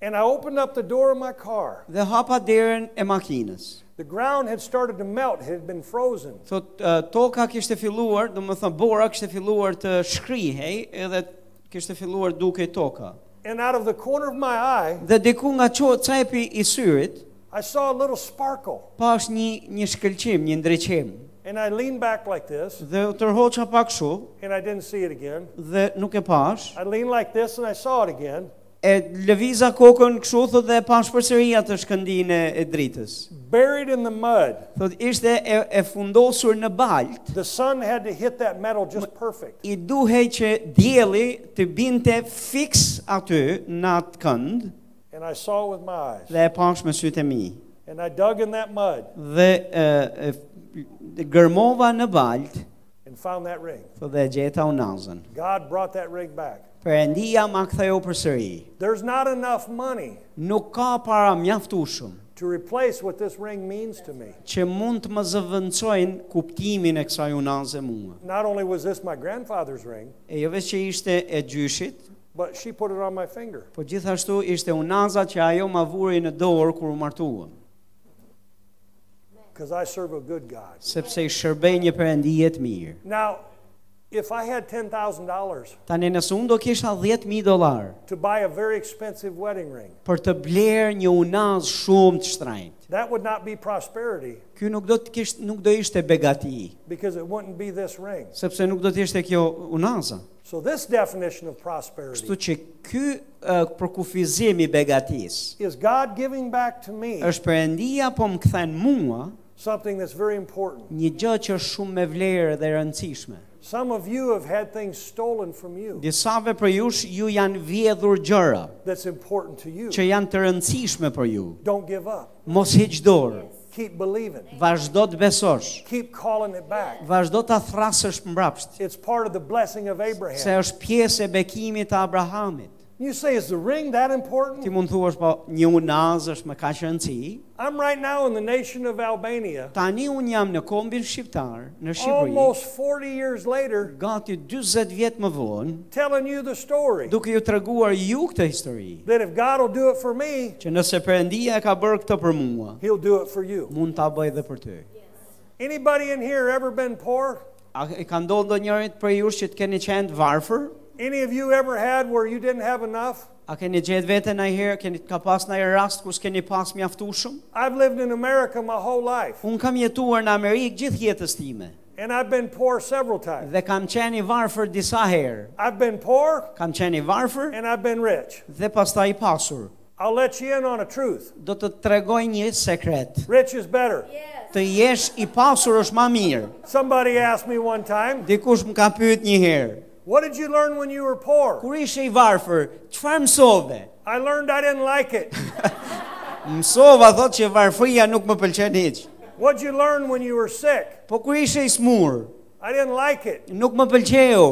and I opened up the door of my car.
dhe hapa derën e makinës.
The ground had started to melt, it had been frozen.
Thot, uh, toka kishte filluar, do më thënë, bora kishte filluar të shkrihej edhe kishte filluar duke toka.
And out of the corner of my eye,
Dhe diku nga qo, cepi i syrit,
I saw a little sparkle.
pash një, një shkëlqim, një ndryqim.
And I leaned back like this
Dhe u tërhoqa pak kështu
and I didn't see it again.
dhe nuk e pash.
I leaned like this and I saw it again.
E lëviza kokën kështu thot dhe e pash përsëri atë shkëndin e, e dritës.
Buried in the mud,
Thot ishte e, e fundosur në balt.
the sun had to hit that metal just perfect.
I duhej që dielli të binte fiks aty në atë kënd
And I saw it with my eyes.
dhe e pash me sytë e mi.
And I dug in that mud
Dhe e, e, e gërmova në balt
and found that ring.
thot dhe e gjeta unazën.
God brought that ring back.
Perëndia ma ktheu përsëri.
There's not enough money
Nuk ka para mjaftueshëm
to replace what this ring means to me.
që mund të më zëvëndësojnë kuptimin e kësaj unaze mua.
Not only was this my grandfather's ring,
E jo veç që ishte e gjyshit,
but she put it on my finger.
po gjithashtu ishte unaza që ajo ma vuri në dorë kur u martuam,
because I serve a good God.
sepse i shërbej një perëndije të mirë.
Now, if I had $10,000
Tani nëse unë do kisha 10.000 dollar
to buy a very expensive wedding ring,
për të blerë një unaz shumë të shtrajnë,
that would not be prosperity
Ky nuk do të kishte nuk do ishte begati,
because it wouldn't be this ring.
sepse nuk do të ishte kjo unaza.
So, this definition of
Kështu
prosperity
që ky uh, përkufizim i begatisë
is God giving back to me
është perëndia po më kthen mua
something that's very important.
një gjë që është shumë me vlerë dhe e rëndësishme.
Some of you have had things stolen from you
Disave për jush ju janë vjedhur gjëra
that's important to you.
që janë të rëndësishme për ju.
Don't give up,
Mos hiq dorë,
keep believing,
vazhdo të besosh,
keep calling it back.
vazhdo ta thrasësh mbrapsht,
It's part of the blessing of
se
Abraham.
është pjesë e bekimit të Abrahamit.
You say, is the ring that
Ti
important?
mund thuash po një unaz është me kaq rëndësi.
I'm right now in the nation of Albania.
Tani un jam në kombin shqiptar në Shqipëri,
almost 40 years later
gati 40 vjet më vonë,
telling you the story
duke ju treguar ju këtë histori,
that if God will do it for me,
që nëse Perëndia e ka bërë këtë për mua,
he'll do it for you.
mund ta bëj edhe për ty.
Anybody in here ever been poor?
A e ka ndodhur ndonjërit për ju që të keni qenë të varfër?
Any of you ever had where you didn't have enough?
A keni gjetë veten ndonjëherë, keni ka pas ndonjë rast ku s'keni pas mjaftueshëm?
I've lived in America my whole life
Un kam jetuar në Amerikë gjithë jetës time
and I've been poor several times.
dhe kam qenë i varfër disa herë.
I've been poor
Kam qenë i varfër
and I've been rich.
dhe pastaj i pasur.
I'll let you in on a truth.
Do të tregoj një sekret.
Rich is better.
Yes.
Të të jesh i pasur është ma mirë.
Somebody asked me one time,
Dikush më ka pyet një herë,
What did you learn when you were poor?
kur ishe i varfër, çfarë mësove?
I learned I didn't like it.
Mësova thotë që varfëria nuk më pëlqen hiç.
What'd you learn when you were sick?
Po kur ishe i smur,
I didn't like it.
nuk më pëlqeu.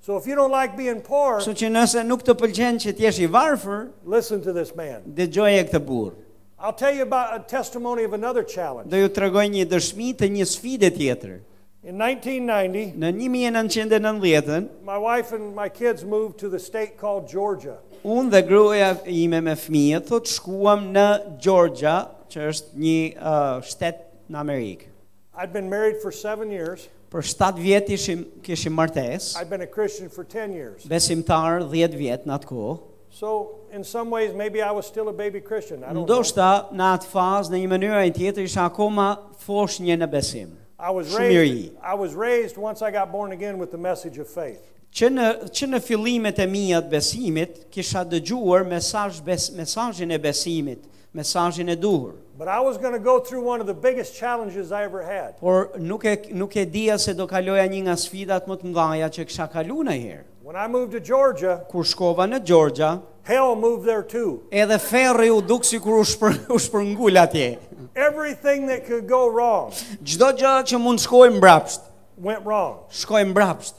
So if you don't like being poor,
Kështu që nëse nuk të pëlqen që t'jesh i varfër,
listen to this man.
dëgjoje këtë burr.
I'll tell you about a testimony of another challenge.
Do ju tregoj një dëshmi të një sfide tjetër.
In 1990,
Në 1990-ën,
my wife and my kids moved to the state called Georgia.
unë dhe gruaja ime me fëmijët thot shkuam në Georgia, që është një uh, shtet në Amerikë.
I'd been married for seven years.
Për 7 vjet ishim kishim martesë,
I'd been a Christian for 10 years.
besimtar 10 vjet në atë kohë.
So, in some ways, maybe I was still a baby Christian. I don't know.
Ndoshta në atë fazë në një mënyrë e tjetër isha akoma foshnjë në besim.
I was
Shumë i
raised. I was raised once I got born again with the message of faith.
Që në që në fillimet e mia të besimit kisha dëgjuar mesazh bes, mesazhin e besimit, mesazhin e duhur.
But I was going to go through one of the biggest challenges I ever had.
Por nuk e nuk e dija se do kaloja një nga sfidat më të mëdha që kisha kaluar ndonjëherë.
When I moved to Georgia,
Kur shkova në Georgia,
hell moved there too.
edhe ferri u duk sikur u shpër (laughs) u shpërngul atje.
Everything that could go wrong
Çdo gjë që mund shkojë mbrapsht,
went wrong.
shkoj mbrapsht.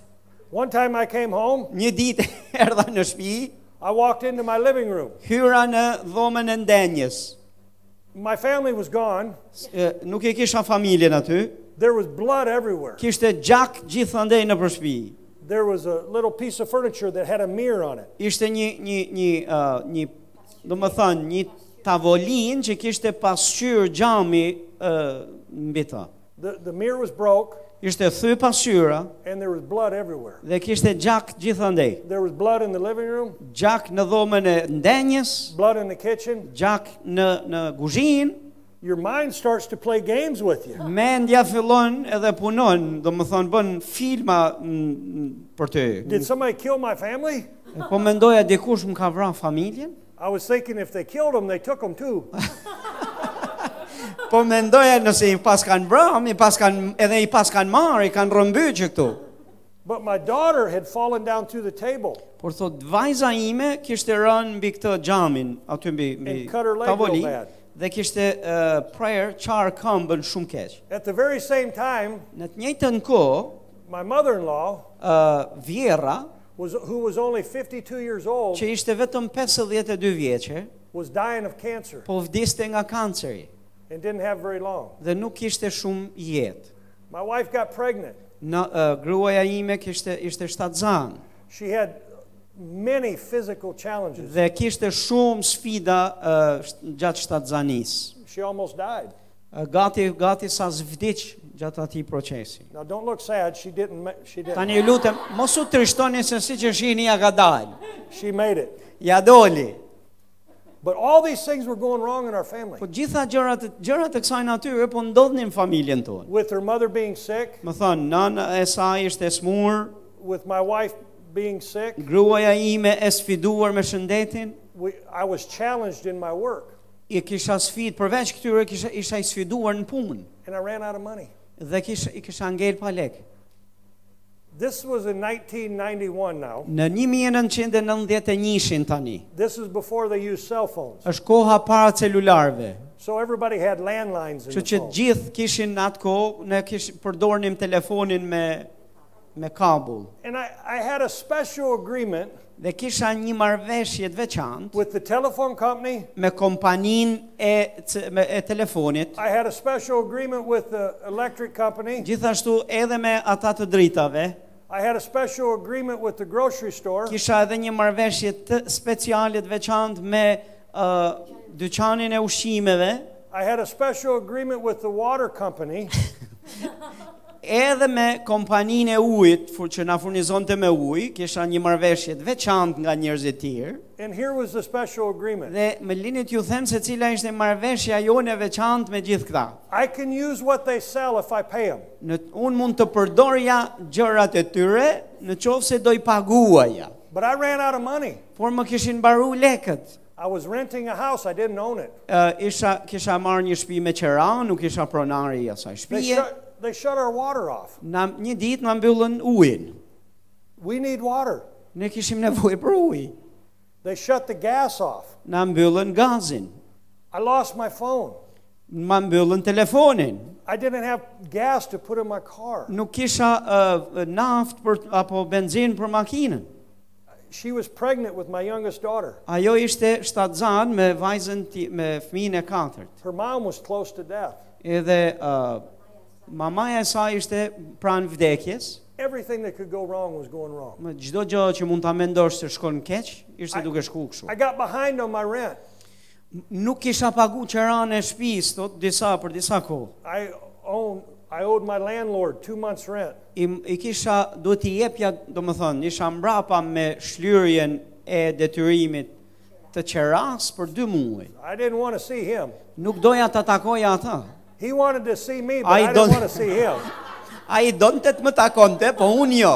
One time I came home,
Një ditë (laughs) erdha në shtëpi,
I walked into my living room.
hyra në dhomën e ndenjës.
My family was gone.
S- e, Nuk e kisha familjen aty,
There was blood everywhere.
kishte gjak gjithandej në përshpi.
There was a little piece of furniture that had a mirror on it.
Ishte një, një, një, uh, një do më thënë, një tavolin që kishte pasqyrë gjami uh, mbi ta.
The, the mirror was broke
Ishte thy pasqyra
and there was blood everywhere.
dhe kishte gjak gjithandej.
There was blood in the living room,
Gjak në dhomën e ndenjës,
blood in the kitchen.
gjak në, në guzhinë,
Your mind starts to play games with you.
Mendja fillon edhe punon, do më thonë bën filma mm, mm, për ty.
Did somebody kill my family?
Po mendoja dikush më ka vra familjen?
I was thinking if they killed them, they took them too.
Po mendoja nëse i pas kanë vra, i pas kanë edhe i pas kanë marrë, i kanë rëmbyqë këtu.
But my daughter had fallen down through the table
Por thot vajza ime kishte rënë mbi këtë xhamin, aty mbi mbi
And cut her leg real
tavolinë,
bad.
dhe kishte uh, prayer çar këmbën shumë keq.
At the very same time,
Në të njëjtën kohë,
my mother-in-law,
uh, Vjera,
was, who was only 52 years old,
që ishte vetëm 52 vjeçë,
was dying of cancer
po vdiste nga kanceri.
and didn't have very long.
dhe nuk kishte shumë jetë.
My wife got pregnant.
Në uh, gruaja ime kishte ishte shtatzan
She had many physical challenges.
dhe kishte shumë sfida uh, sht- gjatë shtatzanis.
She almost died.
Uh, gati gati sa zvdiq gjatë atij procesi.
Now, don't look sad. She didn't. ma- She didn't.
Tani ju lutem, mos u trishtoni se siç e shihni ja ka dalë.
She made it.
Ja doli.
But all these things were going wrong in our family.
Po gjitha gjërat gjërat e kësaj natyre po ndodhnin në familjen tonë.
With her mother being sick,
Më thon, nëna e saj ishte e smur,
with my wife being sick,
gruaja ime e sfiduar me shëndetin,
we, I was challenged in my work,
i kisha sfid përveç këtyre kisha isha i sfiduar në punë
and I ran out of money.
dhe kisha i kisha ngel pa lek.
This was in 1991. Now,
Në 1991-shin tani,
this is before they used cell phones,
është koha para celularëve.
so everybody had landlines
Kështu
in the
që
phone.
gjithë kishin atë kohë, ne kish përdornim telefonin me me kabull.
And I, I had a special agreement
Dhe kisha një marrëveshje të veçantë
with the telephone company.
me kompaninë e c- me, e telefonit,
I had a special agreement with the electric company.
gjithashtu edhe me ata të dritave.
I had a special agreement with the grocery store.
Kisha edhe një marrëveshje të speciale të veçantë me uh, dyqanin e ushqimeve,
I had a special agreement with the water company.
edhe me kompaninë e ujit, fu- që na furnizonte me ujë, kisha një marrëveshje të veçantë nga njerëzit tjerë.
And here was the special agreement.
Dhe më linit ju them se cila ishte marrëveshja jone e veçantë me gjithë këta.
I can use what they sell if I pay them.
Në un mund të përdorja gjërat e tyre në qovë se do i paguaja.
But I ran out of money.
Por më kishin baru lekët.
I was renting a house. I didn't own it.
Ë, isha kisha marrë një shtëpi me qera, nuk isha pronari i asaj
They
shtëpie.
shut, they shut our water off.
Na një ditë na mbyllën ujin.
We need water.
Ne kishim nevojë për ujë.
They shut the gas off.
Na mbyllën gazin.
I lost my phone.
Ma mbyllën telefonin.
I didn't have gas to put in my car.
Nuk kisha uh, naft për apo benzinë për makinën.
She was pregnant with my youngest daughter.
Ajo ishte shtatzan me vajzën ti, me fëmin e katërt.
Her mom was close to death.
Edhe uh, mamaja e saj ishte pranë vdekjes.
Everything that could go wrong was going wrong.
Më çdo gjë që mund ta mendosh se shkon keq, ishte
Ai-
duke shku kështu.
I got behind on my rent.
Nuk kisha pagu qeran e shtëpisë tot disa për disa kohë.
I own I owed my landlord 2 months rent.
I, i kisha duhet t'i jepja, domethënë, isha mbrapa me shlyrjen e detyrimit të qeras për dy muaj.
I didn't want to see him.
Nuk doja ta takoja ata.
He wanted to see me, but
I
I, didn't
don't-
want to see him.
Ai donte të më takonte, po unë jo.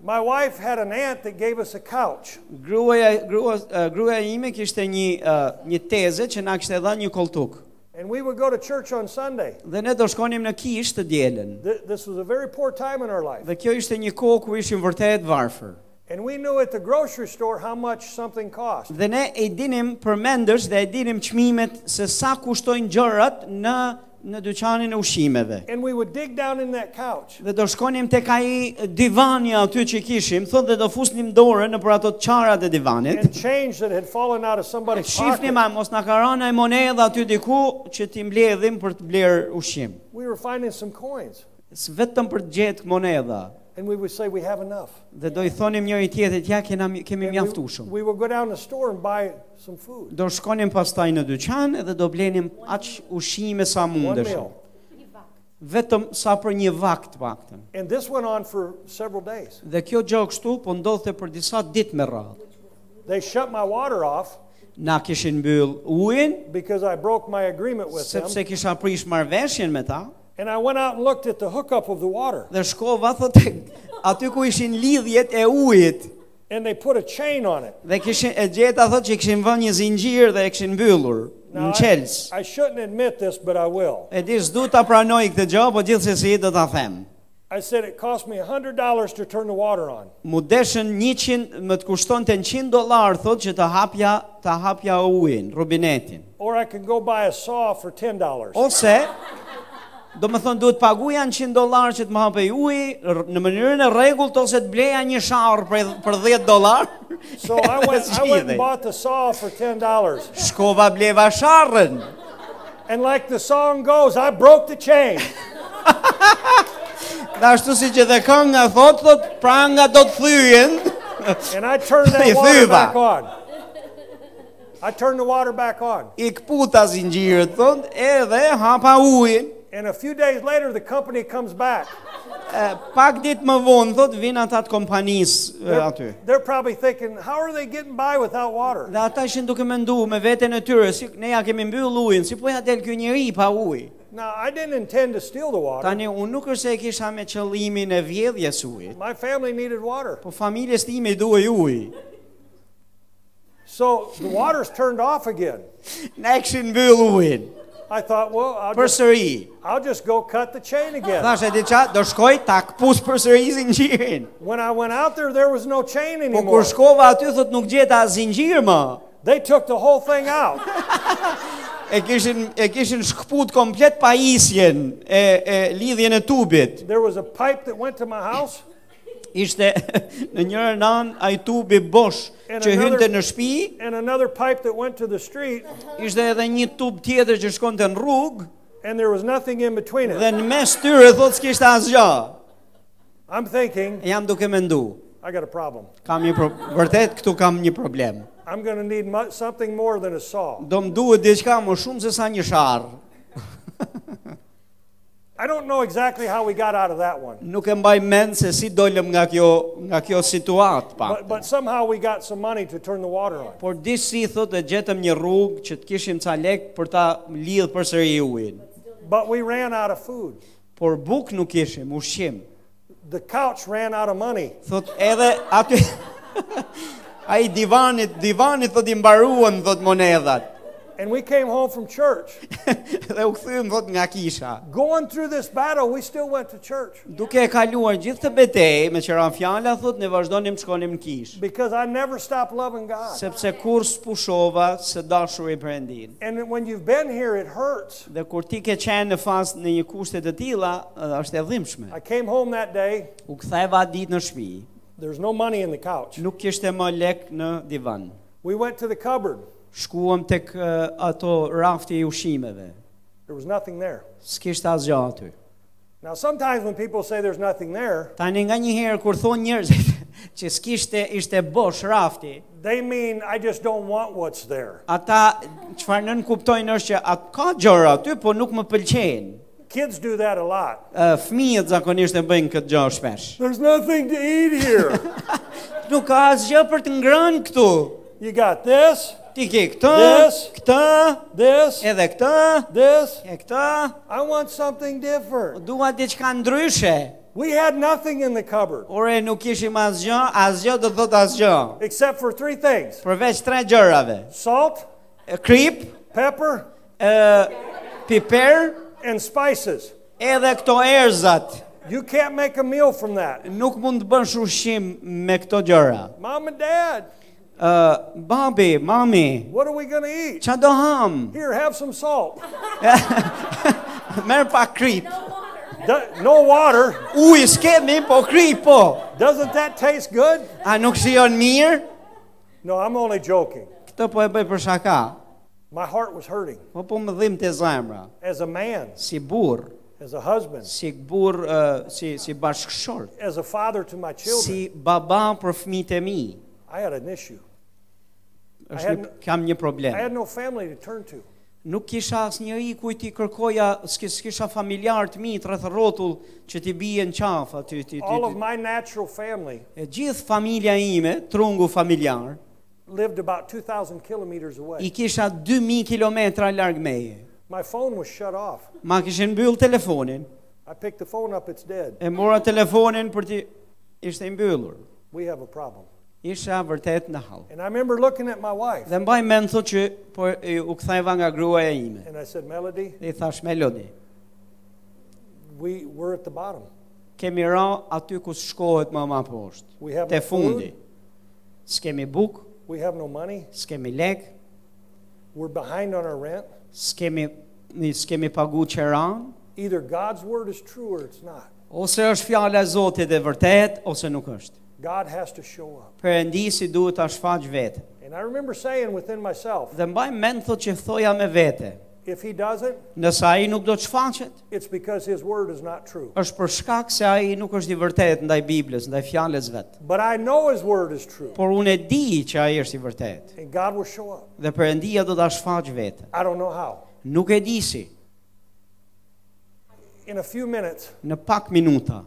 My wife had an aunt that gave us a couch.
Gruaja grua, eh, gruaja ime kishte një eh, një teze që na kishte dhënë një koltuk.
And we would go to church on Sunday.
Dhe ne do shkonim në kish të dielën.
Th- This was a very poor time in our life.
Dhe kjo ishte një kohë ku ishim vërtet varfër.
And we knew at the grocery store how much something cost.
Dhe ne e dinim përmendësh dhe e dinim çmimet se sa kushtojnë gjërat në në dyqanin e ushqimeve.
And we would dig down in that couch
Dhe do shkonim tek ai divani aty që kishim, thonë dhe do fusnim dorën nëpër ato qarat e divanit.
and change that had fallen out of somebody's
Shifnim
pocket.
a mos na ka rënë ai monedha aty diku që ti mbledhim për të bler ushqim.
We were finding some coins.
S vetëm për të gjetë monedha.
And we would say, We have enough.
Dhe do i thonim njëri tjetrit, ja kena kemi
And we-
mjaftueshëm.
We would go down to the store and buy some food.
Do shkonim pastaj në dyqan edhe do blenim aq ushqime sa
One
mundesh.
meal.
Vetëm sa për një vakt të paktën.
And this went on for several days.
Dhe kjo gjë kështu po ndodhte për disa ditë me radhë.
They shut my water off
Na kishin mbyll ujin
because I broke my agreement with them.
sepse kisha prish marrveshjen me ta
And I went out and looked at the hookup of the water.
dhe shkova thotë (laughs) aty ku ishin lidhjet e ujit
And they put a chain on it.
dhe kishin e gjeta thotë që kishin vënë një zinxhir dhe e kishin mbyllur
Now,
në
I,
Chelsea.
I shouldn't admit this, but I will.
E di s'du ta pranoj këtë gjë, po gjithsesi do ta them.
I said it cost me $100 to turn the water on.
Mu deshën 100, më të kushtonte 100 dollar, thotë që të hapja, të hapja ujin, rubinetin.
Or I could go buy a saw for $10.
Ose do më thonë duhet paguja në 100 dolar që të më hapej uji r- në mënyrën e rregullt ose të bleja një sharr për, për 10 dolar.
So
(laughs)
I went, I went
Zgjidhej.
and bought the saw for $10.
Shkova bleva sharrën.
And like the song goes, I broke the chain.
Dhe ashtu si që dhe kënga thotë, thot, pranga do të thyjen.
And I turned
Hey,
that water
Thuba.
back on. I turned the water back on.
(laughs) I këputa zinxhirët, thonë, edhe hapa ujin.
And a few days later, the company comes back.
E, Pak ditë më vonë, thot, vinë ata të kompanisë e, aty.
They're probably thinking, how are they getting by without water?
Dhe ata ishin duke mendu me veten e tyre, si ne ja kemi mbyll ujin, si po ja del ky njeri pa ujë.
Now, I didn't intend to steal the water.
Tani unë nuk është se e kisha me qëllimin e vjedhjes ujit,
My family needed water.
po familjes time i duhej uji.
So the water's turned off again.
Ne e kishin mbyll ujin
I thought, well, I'll just,
përsëri.
I'll just go cut the chain again.
Thash e diçka, do shkoj ta kpus përsëri zinxhirin.
When I went out there, there was no chain
Po kur
anymore.
shkova aty thot nuk gjeta zinxhir më.
They took the whole thing out.
E kishin e kishin shkput komplet pajisjen e, e lidhjen e tubit.
There was a pipe that went to my house.
Ishte (laughs) në njërën anë ai tubi bosh
And
që
another-
hynte në shtëpi,
and another pipe that went to the street,
ishte edhe një tub tjetër që shkonte në rrugë
and there was nothing in between
dhe
it.
në mes tyre thotë s'kishte asgjë.
I'm thinking,
Jam duke mendu.
I got a problem.
Kam një pro... vërtet këtu kam një problem.
I'm going to need mu- something more than a saw.
Do më duhet diçka më shumë se sa një sharr.
I don't know exactly how we got out of that one,
Nuk e mbaj mend se si dolëm nga kjo nga kjo situatë pa.
but, but somehow we got some money to turn the water on.
Por disi thotë e gjetëm një rrugë që të kishim ca lek për ta lidh përsëri ujin.
But we ran out of food.
Por buk nuk kishim, ushqim.
The couch ran out of money.
Thot edhe aty (laughs) Ai divanit, divanit thot i mbaruan thot monedhat.
And we came home from church.
(laughs) dhe u kthym thot nga kisha.
Going through this battle, we still went to church
Duke e kaluar gjithë të betejë me qëra fjala thot ne vazhdonim të shkonim në kishë.
because I never stopped loving God.
Sepse kur s'pushova së dashuri Perëndin.
And when you've been here, it hurts.
Dhe kur ti ke qenë në fazë në një kushte të tilla, ë, është e dhimbshme.
I came home that day.
U ktheva atë ditë në shtëpi.
There's no money in the couch.
Nuk kishte më lek në divan.
We went to the cupboard.
Shkuam tek ë, ato rafti i ushqimeve.
There was nothing there.
S'kishte asgjë aty.
Now, sometimes when people say there's nothing there,
Tani nga një herë kur thon njerëzit (laughs) që s'kishte ishte bosh rafti,
they mean I just don't want what's there.
ata çfarë nën kuptojnë është që atë ka gjëra aty, po nuk më pëlqejnë.
Kids do that a lot.
Ë, Fëmijët zakonisht e bëjnë këtë gjë shpesh.
There's nothing to eat here.
Nuk ka asgjë për të ngrënë këtu.
(laughs) you got this,
Ti ke këtë,
Yes.
këtë,
this,
edhe këtë,
this.
e këtë.
I want something different.
Dua diçka ndryshe.
We had nothing in the cupboard
Ore nuk kishim asgjë, asgjë do thot asgjë.
except for three things
Përveç tre gjërave.
salt,
Krip,
pepper,
ë piper,
and spices.
edhe këto erzat.
You can't make a meal from that.
nuk mund të bësh ushqim me këto gjëra.
Mom and dad,
Ë, babi, mami,
what are we going to eat?
ça do ham? (laughs)
Here, have some salt.
Merr pa krip.
Do- no water.
Uj s'kemi, po krip po.
Doesn't that taste good?
A nuk shijon mirë?
No, I'm only joking.
Këtë po e bëj për shaka.
My heart was hurting
Po po më dhim të zemra.
as a man,
Si burr,
as a husband,
si burr, ë, si si bashkëshort,
as a father to my children.
si baba për fëmijët e mi.
I had an issue.
Është një,
hadn't-
kam një
I
problem.
had no family to turn to.
Nuk kisha asnjëri kujt i kërkoja, s'ki- s'kisha familjar të mi rreth rrotull që ti bie në qaf aty ti ti.
All of
ti-
my natural family
E gjithë familja ime, trungu familjar,
lived about 2,000 kilometers
i
away.
kisha 2000 kilometra larg meje.
My phone was shut off.
Ma kishin mbyll telefonin,
I picked the phone up, it's dead.
e mora telefonin për ti ishte i mbyllur.
We have a problem.
Isha vërtet në hall.
And I remember looking at my wife
Dhe mbaj mend thotë që po e, u ktheva nga gruaja ime.
and I said, Melody,
Dhe i thash Melodi,
we, we're at the bottom.
kemi ra aty ku shkohet më ma poshtë.
We have
Te
no
fundi.
food,
S'kemi buk,
we have no money,
s'kemi lek,
we're behind on our rent.
s'kemi ni s'kemi pagu qeran,
Either God's word is true or it's not.
ose është fjala e Zotit e vërtet ose nuk është.
God has to show up.
Perëndisi duhet ta shfaq vetë.
And I remember saying within myself,
Dhe mbaj mend thotë që thoja me vete.
if he doesn't,
Nëse ai nuk do të shfaqet,
it's because his word is not true.
është për shkak se ai nuk është i vërtetë ndaj Biblës, ndaj fjalës vet.
But I know his word is true,
Por unë e di që ai është i vërtetë
and God will show up.
dhe Perëndia do ta shfaq vetë.
I don't know how.
Nuk e di si.
In a few minutes,
Në pak minuta.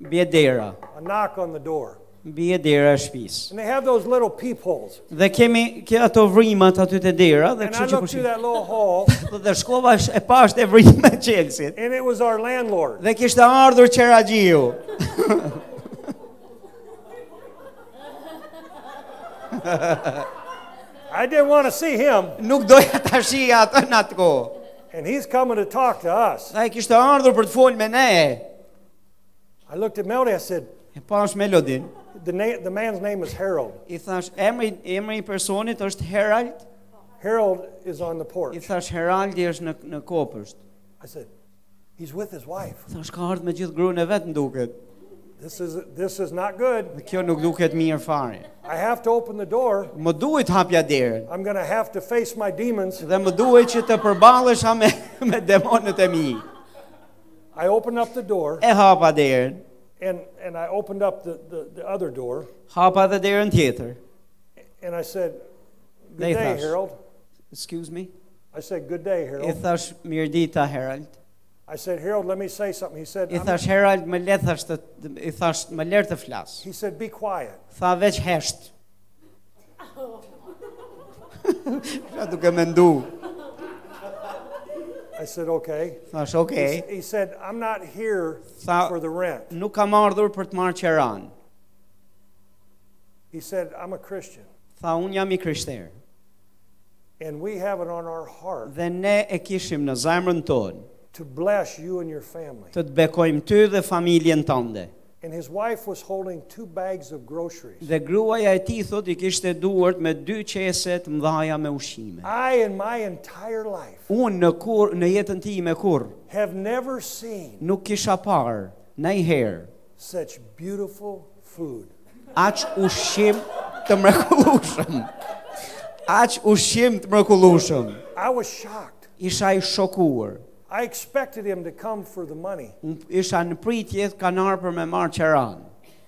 Bie dera,
a knock on the door.
bie dera e shtëpisë.
And they have those little peepholes.
Dhe kemi ke ato vrimat aty te dera dhe
And I
kështu që
looked through
kushin.
that little hole,
Dhe shkova sh- e pashtë e vrimat e Chelsea-t.
and it was our landlord.
Dhe kishte ardhur qeraxhiu.
I didn't want to see him,
Nuk doja ta shija atë në atë kohë.
and he's coming to talk to us.
Sa e kishte ardhur për të folë me ne.
I looked at Melody. I said,
E pash melodin.
the, na- the man's name is Harold.
I thash, emri, emri i personit është Herald.
Harold is on the
I
porch.
thash, Heraldi është në, në kopësht.
I said, he's with his wife.
Thash, ka ardhur me gjithë gruën e vetë në duket.
This is, this is not good.
Dhe kjo nuk duket mirë fare.
I have to open the door.
Më duhet hapja derën.
I'm going to have to face my demons.
Dhe më duhet që të përbalesha me, (laughs) me demonët e mi.
I opened up the door,
E hapa derën.
and, and I opened up the, the, the other door,
Hapa dhe derën tjetër.
and I said, Good
They
day,
thought-
Harold.
Excuse me.
I said, Good day,
I
Harold.
thash, mirë dita, Herald.
I said, Harold, let me say something. He said,
I
"I'm-
thash, Herald, më le thash të, i thash, më lërë të flasë.
He said, Be quiet.
Tha veç (laughs) hesht. Qa duke me ndu.
I said, Okay.
Thash, okej.
He said, I'm not here
Tha,
for the rent.
nuk kam ardhur për të marrë qeran.
He said, I'm a Christian.
Tha, unë jam i krishterë.
And we have it on our heart
Dhe ne e kishim në zemrën tonë
to bless you and your family.
të të bekojmë ty dhe familjen tënde.
And his wife was holding two bags of groceries.
Dhe gruaja e tij thot i kishte duart me dy qese të mëdha me ushqime.
I, in my entire life,
Unë në kur në jetën time kur
have never seen
nuk kisha parë ndajherë
such beautiful food.
aq ushqim të mrekullueshëm. Aq ushqim të mrekullueshëm.
I was shocked.
Isha i shokuar.
I expected him to come for the money.
Unë isha në pritje kanë ardhur për me marr qeran.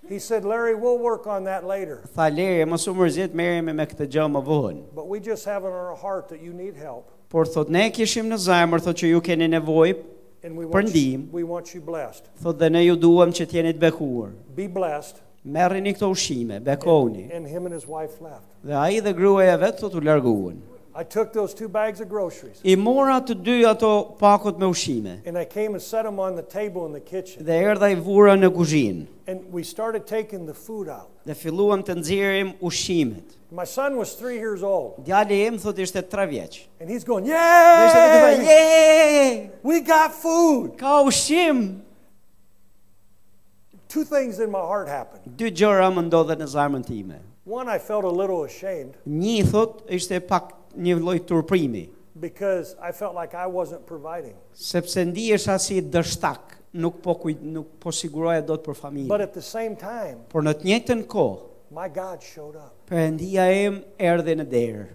He said, Larry, we'll work on that later.
Tha Lerje, mos u mërzit, merremi me këtë gjë më vonë.
But we just have it on our heart that you need help.
Por thot ne kishim në zemër thot që ju keni nevojë,
And we want, you,
Përndim.
we want you blessed.
thot dhe ne ju duam që t'jeni të bekuar.
Be blessed.
Merreni këto ushqime, bekoni.
And him and his wife left.
Dhe ai dhe gruaja vet thot u larguan.
I took those two bags of groceries
I mora të dy ato pakot me ushqime
and I came and set them on the table in the kitchen.
dhe erdha i vura në kuzhinë
And we started taking the food out.
dhe filluam të nxjerrim ushqimet.
My son was three years old
Djali im thot ishte 3 vjeç.
and he's going,
Dhe ishte duke thënë,
Yay!
"Je,
We got food.
ka ushqim."
Two things in my heart happened.
Dy gjëra më ndodhen në zemrën time.
One, I felt a little ashamed
Një thot ishte pak një lloj turprimi,
because I felt like I wasn't providing.
sepse ndihesha si dështak, nuk po kuj, nuk po siguroja dot për
But
familjen.
at the same time,
Por në të njëjtën kohë,
my God showed up.
Perëndia im erdhi në derë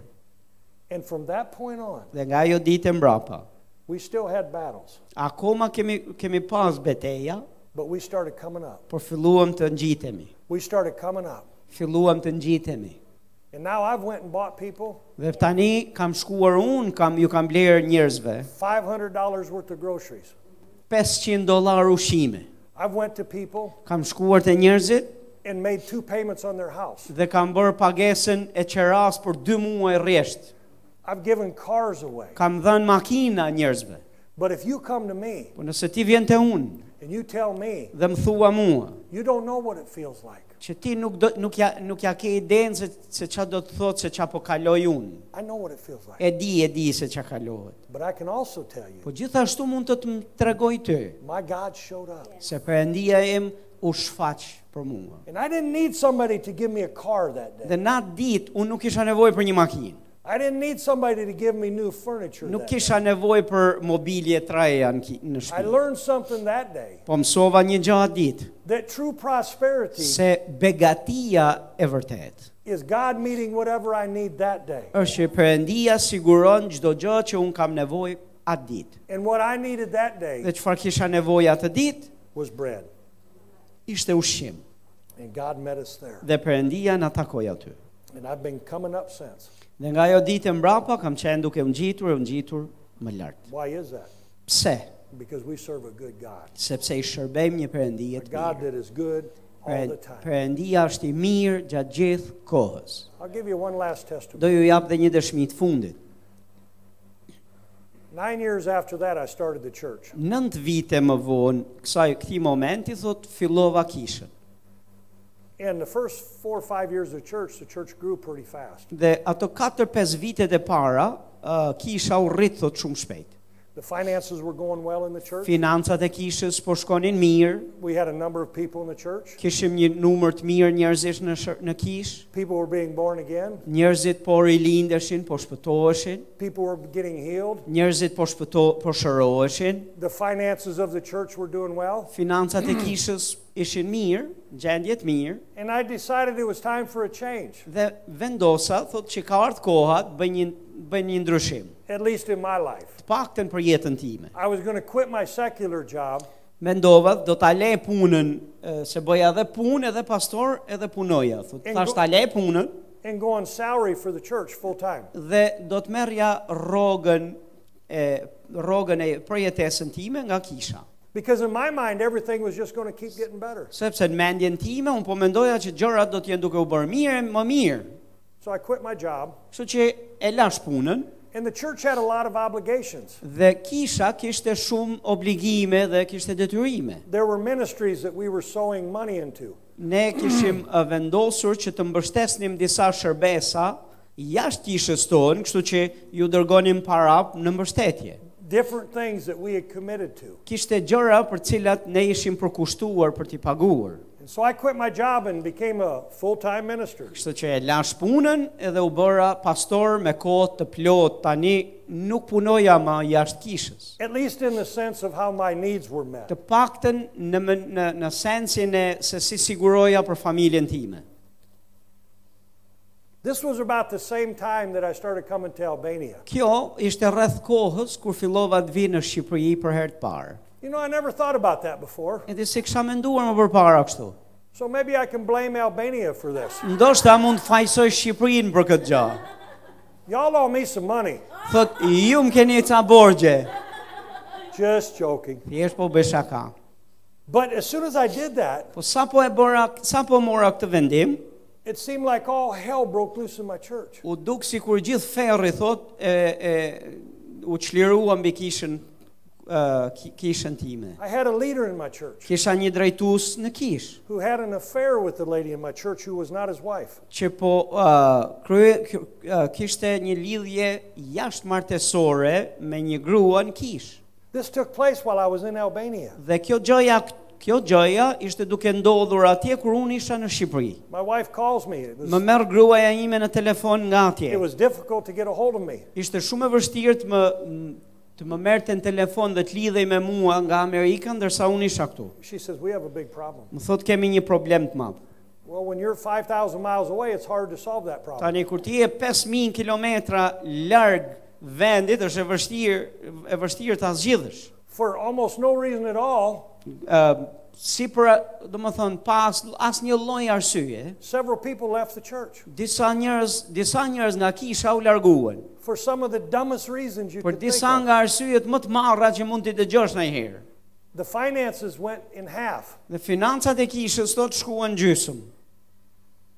And from that point on,
dhe nga ajo ditë e mbrapa
we still had battles,
Akoma kemi kemi pas betejë,
but we started coming up.
por filluam të ngjitemi.
We started coming up.
Filluam të ngjitemi.
And now I've went and bought people
Dhe tani kam shkuar unë, kam, ju kam blerë njerëzve
$500 worth of groceries.
500 dolar ushime.
I've went to people
Kam shkuar të njerëzit
and made two payments on their house.
dhe kam bërë pagesën e qeras për 2 muaj rresht.
I've given cars away.
Kam dhënë makina njerëzve.
But if you come to me
Po nëse ti vjen te unë
and you tell me
dhe më thua mua
you don't know what it feels like,
që ti nuk do nuk ja nuk ja ke idenë se se ç'a do të thotë se ç'a po kaloj unë.
I know what it feels like.
E di, e di se ç'a kalohet.
But I can also tell you,
Po gjithashtu mund të të më tregoj ty
my God showed up.
se Perëndia im u shfaq për mua.
And I didn't need somebody to give me a car that day.
Dhe na ditë unë nuk kisha nevojë për një makinë.
I didn't need somebody to give me new furniture.
Nuk
that day.
kisha nevojë për mobilje të reja në ki- në
I
shtëpi.
learned something that day
Po mësova një gjë atë ditë
that true prosperity
se begatia e vërtet
is God meeting whatever I need that day.
është që Perëndia siguron çdo gjë që unë kam nevojë atë ditë.
And what I needed that
Dhe
day
çfarë kisha nevojë atë ditë
was bread.
ishte ushqim
And God met us there.
dhe Perëndia na takoi aty.
And I've been coming up since.
Dhe nga ajo ditë e mbrapa kam qenë duke u ngjitur, u ngjitur më lart.
Why is that?
Pse?
Because we serve a good God.
Sepse i shërbejmë një Perëndije
A
të
God
mirë.
that is good all the
Perënd-
time.
Perëndia është i mirë gjatë gjithë kohës.
I'll give you one last
Do
testimony.
ju jap dhe një dëshmi të fundit.
Nine years after that, I started the church.
Nënt vite më vonë, kësaj këtij momenti thot fillova kishën.
And the first four or five years of church, the church grew pretty fast.
Dhe ato 4-5 vitet e para, ë, kisha u rrit thot shumë shpejt.
The finances were going well in the church.
Financat e kishës po shkonin mirë,
We had a number of people in the church.
kishim një numër të mirë njerëzish në shër, në kishë.
People were being born again.
Njerëzit po rilindeshin, po shpëtoheshin,
People were getting healed.
njerëzit po shpëto po shëroheshin.
The finances of the church were doing well.
financat e kishës ishin mirë, gjendjet mirë,
And I decided it was time for a change,
dhe vendosa thotë që ka ardhur koha të bëj një bëj një ndryshim,
at least in my life.
të paktën për jetën time.
I was going to quit my secular job
Mendova do ta lej punën, e, se bëja edhe punë edhe pastor edhe punoja. Thotë
E
tash
ngu-
ta lej punën
and go on salary for the church full time.
dhe do të merrja rrogën e rrogën e përjetesën time nga kisha.
Because in my mind, everything was just going to keep getting better.
Sepse në mendjen time unë po mendoja që gjërat do të jenë duke u bërë mirë, e më mirë.
So I quit my job.
Kështu që e lash punën
And the church had a lot of obligations.
Dhe kisha kishte shumë obligime dhe kishte detyrime.
There were ministries that we were sowing money into.
ne kishim eh, vendosur që të mbështesnim disa shërbesa jashtë kishës tonë, kështu që ju dërgonim para në mbështetje.
different things that we had committed to.
Kishte gjëra për cilat ne ishim përkushtuar për t'i paguar.
And so I quit my job and became a full time minister.
Kështu që e lash punën edhe u bëra pastor me kohë të plot. Tani nuk punoja më jashtë kishës.
At least in the sense of how my needs were met.
Të paktën në më- në në sensin e se si siguroja për familjen time.
This was about the same time that I started coming to Albania.
Kjo ishte rreth kohës kur fillova të vi në Shqipëri për herë të parë.
You know, I never thought about that before.
Edhe se kisha menduar më përpara kështu.
So maybe I can blame Albania for this.
Ndoshta mund të fajsoj Shqipërinë për këtë gjë.
Y'all owe me some money.
Thot, ju më keni ca borgje.
Just joking.
Thjesht po bëj shaka.
But as soon as I did that,
Po sa po e bëra, sa po mora këtë vendim,
it seemed like all hell broke loose in my church.
u duk si kur gjithë ferri, thot, e, e, u qlirua mbi kishën, e, ki- kishën time.
I had a leader in my church
Kisha një drejtus në kishë,
who had an affair with the lady in my church who was not his wife.
që po e, krye, kë- e, kishte një lidhje jashtë martesore me një grua në kishë.
This took place while I was in Albania.
Dhe kjo gjoja, kjo gjoja ishte duke ndodhur atje kur unë isha në Shqipëri.
My wife calls me. It was,
Më merr gruaja ime në telefon nga
it
atje.
was difficult to get a hold of me.
Ishte shumë e vështirë të më m- të më merrte në telefon dhe të lidhej me mua nga Amerika ndërsa unë isha këtu.
She says, We have a big problem.
Më thot kemi një problem të madh.
Well, when you're 5,000 miles away, it's hard to solve that problem.
Tani kur ti je 5000 kilometra larg vendit është e vështirë e vështirë ta zgjidhësh.
For almost no reason at all,
Ëm si për, do më thënë, pas asnjë lloj arsye,
several people left the church
disa njerëz, disa njerëz nga kisha u larguan.
for some of the dumbest reasons you
Për
could think
disa
of.
nga arsyet më të marra që mund t'i dëgjosh ndonjëherë.
The finances went in half,
Dhe financat e kishës sot shkuan gjysëm.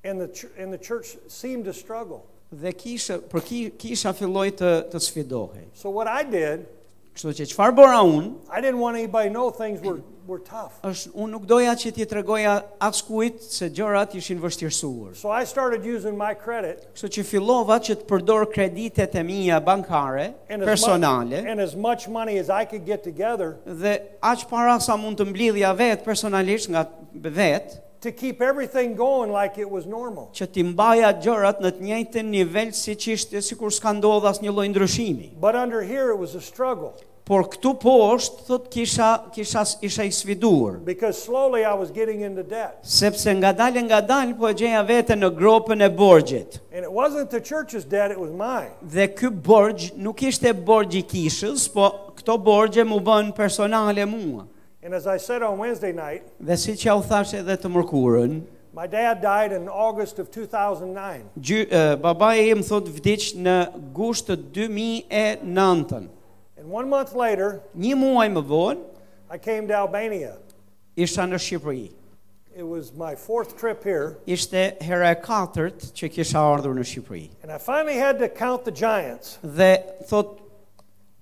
and the, ch- and the church seemed to struggle.
Dhe kisha, për ki, kisha filloi të, të sfidohej.
So, what I did,
Kështu që çfarë bëra unë,
I didn't want anybody to know things were, were tough.
është unë nuk doja që t'i tregoja askujt se gjërat ishin vështirësuar.
So, I started using my credit
Kështu që fillova që të përdor kreditet e mia bankare,
and as, mu-
personale,
and as much money as I could get together
dhe aq para sa mund të mblidhja vetë personalisht nga vetë,
to keep everything going like it was normal.
që t'i mbaja gjërat në të njëjtën nivel siç ishte sikur s'ka ndodhur asnjë lloj ndryshimi.
But under here, it was a struggle
Por këtu poshtë thot kisha kisha isha i sfiduar,
because slowly I was getting into debt.
sepse ngadalë ngadalë po e gjeja veten në gropën e borxhit.
And it wasn't the church's debt, it was mine.
Dhe ky borxh nuk ishte borxh i kishës, po këto borxhe mu bën personale mua.
And as I said on Wednesday night,
Dhe si që ja u thash edhe të mërkurën,
my dad died in August of 2009.
gjy, e, babai im thot vdiq në gusht të 2009-ën.
And one month later,
Një muaj më vonë
I came to Albania.
isha në Shqipëri.
It was my fourth trip here,
Ishte hera e katërt që kisha ardhur në Shqipëri.
and I finally had to count the giants.
dhe thot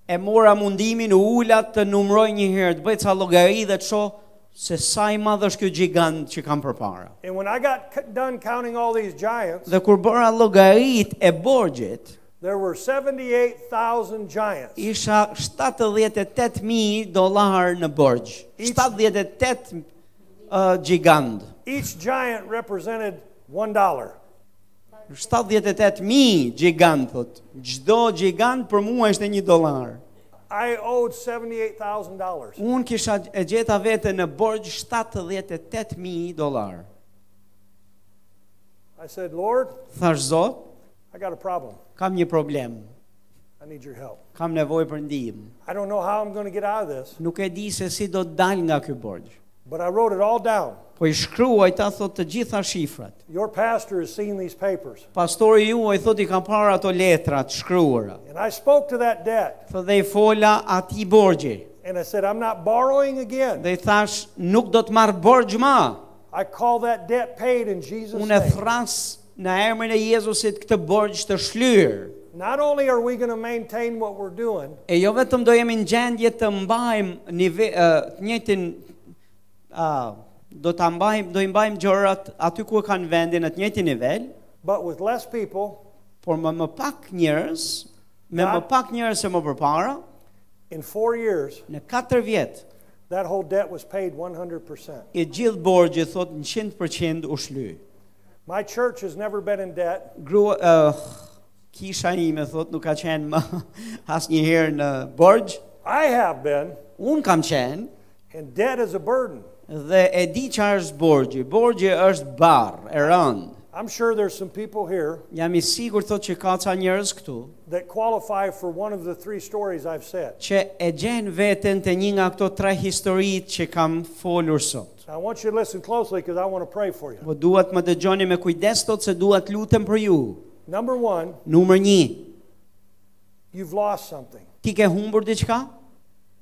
e mora mundimin u ula të numroj një herë, të bëj ca llogari dhe të shoh se sa i madh është ky gjigant që kam përpara.
And when I got c- done counting all these giants,
Dhe kur bëra llogarit e borxhit,
there were 78,000 giants.
isha 78000 dollar në borxh.
Ish-
78 uh, gjigant.
Each giant represented $1.
78000 gjigant thot. Çdo gjigant për mua ishte 1 dollar.
I owed $78,000.
Unë kisha e gjeta vete në borxh 78000 dollar.
I said, Lord,
Thash Zot,
I got a problem.
kam një problem,
I need your help.
kam nevojë për ndihmë.
I don't know how I'm going to get out of this,
Nuk e di se si do të dal nga ky borxh.
but I wrote it all down.
Po i shkruaj ta thot të gjitha shifrat.
Your pastor has seen these papers.
Pastori juaj thot i kam parë ato letra të shkruara.
And I spoke to that debt
Thot dhe i fola ati borxhi.
and I said, I'm not borrowing again.
Dhe i thash nuk do të marr borxh më.
I call that debt paid in Jesus'
Unë e
name.
thras në emrin e Jezusit këtë borxh të shlyr.
Not only are we going to maintain what we're doing,
E jo vetëm do jemi në gjendje të mbajmë nive, uh, të njëjtin uh, do ta mbajmë, do i mbajmë gjërat aty ku e kanë vendin në të njëjtin nivel,
but with less people
por me më pak njerëz, me më
Nga-
pak njerëz se më përpara,
in four years
në 4 vjet
that whole debt was paid 100%
i gjithë borgji thot në 100% u shly.
my church has never been in debt
Grua uh, kisha ime thot nuk ka qenë më (laughs) asnjëherë në borgj.
i have been
Un kam qenë
and debt is a burden
dhe e di çfarë është borgji. Borgji është barr, e rënd.
i'm sure there's some people here
Jam i sigurt thot që ka ca njerëz këtu
that qualify for one of the three stories i've said
që e gjenë veten të një nga këto tre historitë që kam folur sot.
i want you to listen closely because i want to pray for you
Po duat më dëgjoni me kujdes sot se duat lutem për ju.
number one
Numër një,
you've lost something
ti ke humbur diçka?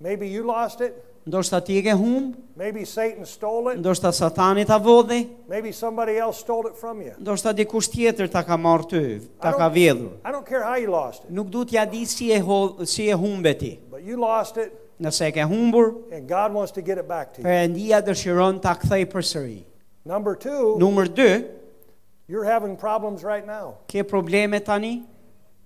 maybe you lost it
Ndoshta ti e ke humbur?
maybe satan stole it
Ndoshta Satani ta vodhi?
maybe somebody else stole it from you
Ndoshta dikush tjetër ta ka marrë ty,
I
ta
don't-
ka vjedhur.
i don't care how you lost it
Nuk du t'ja di si e, ho, si e humbe ti.
but you lost it
Nëse e ke humbur,
and god wants to get it back to you
Perëndia dëshiron ta kthej përsëri.
number two
Numër 2,
You're having problems right now.
ke probleme tani?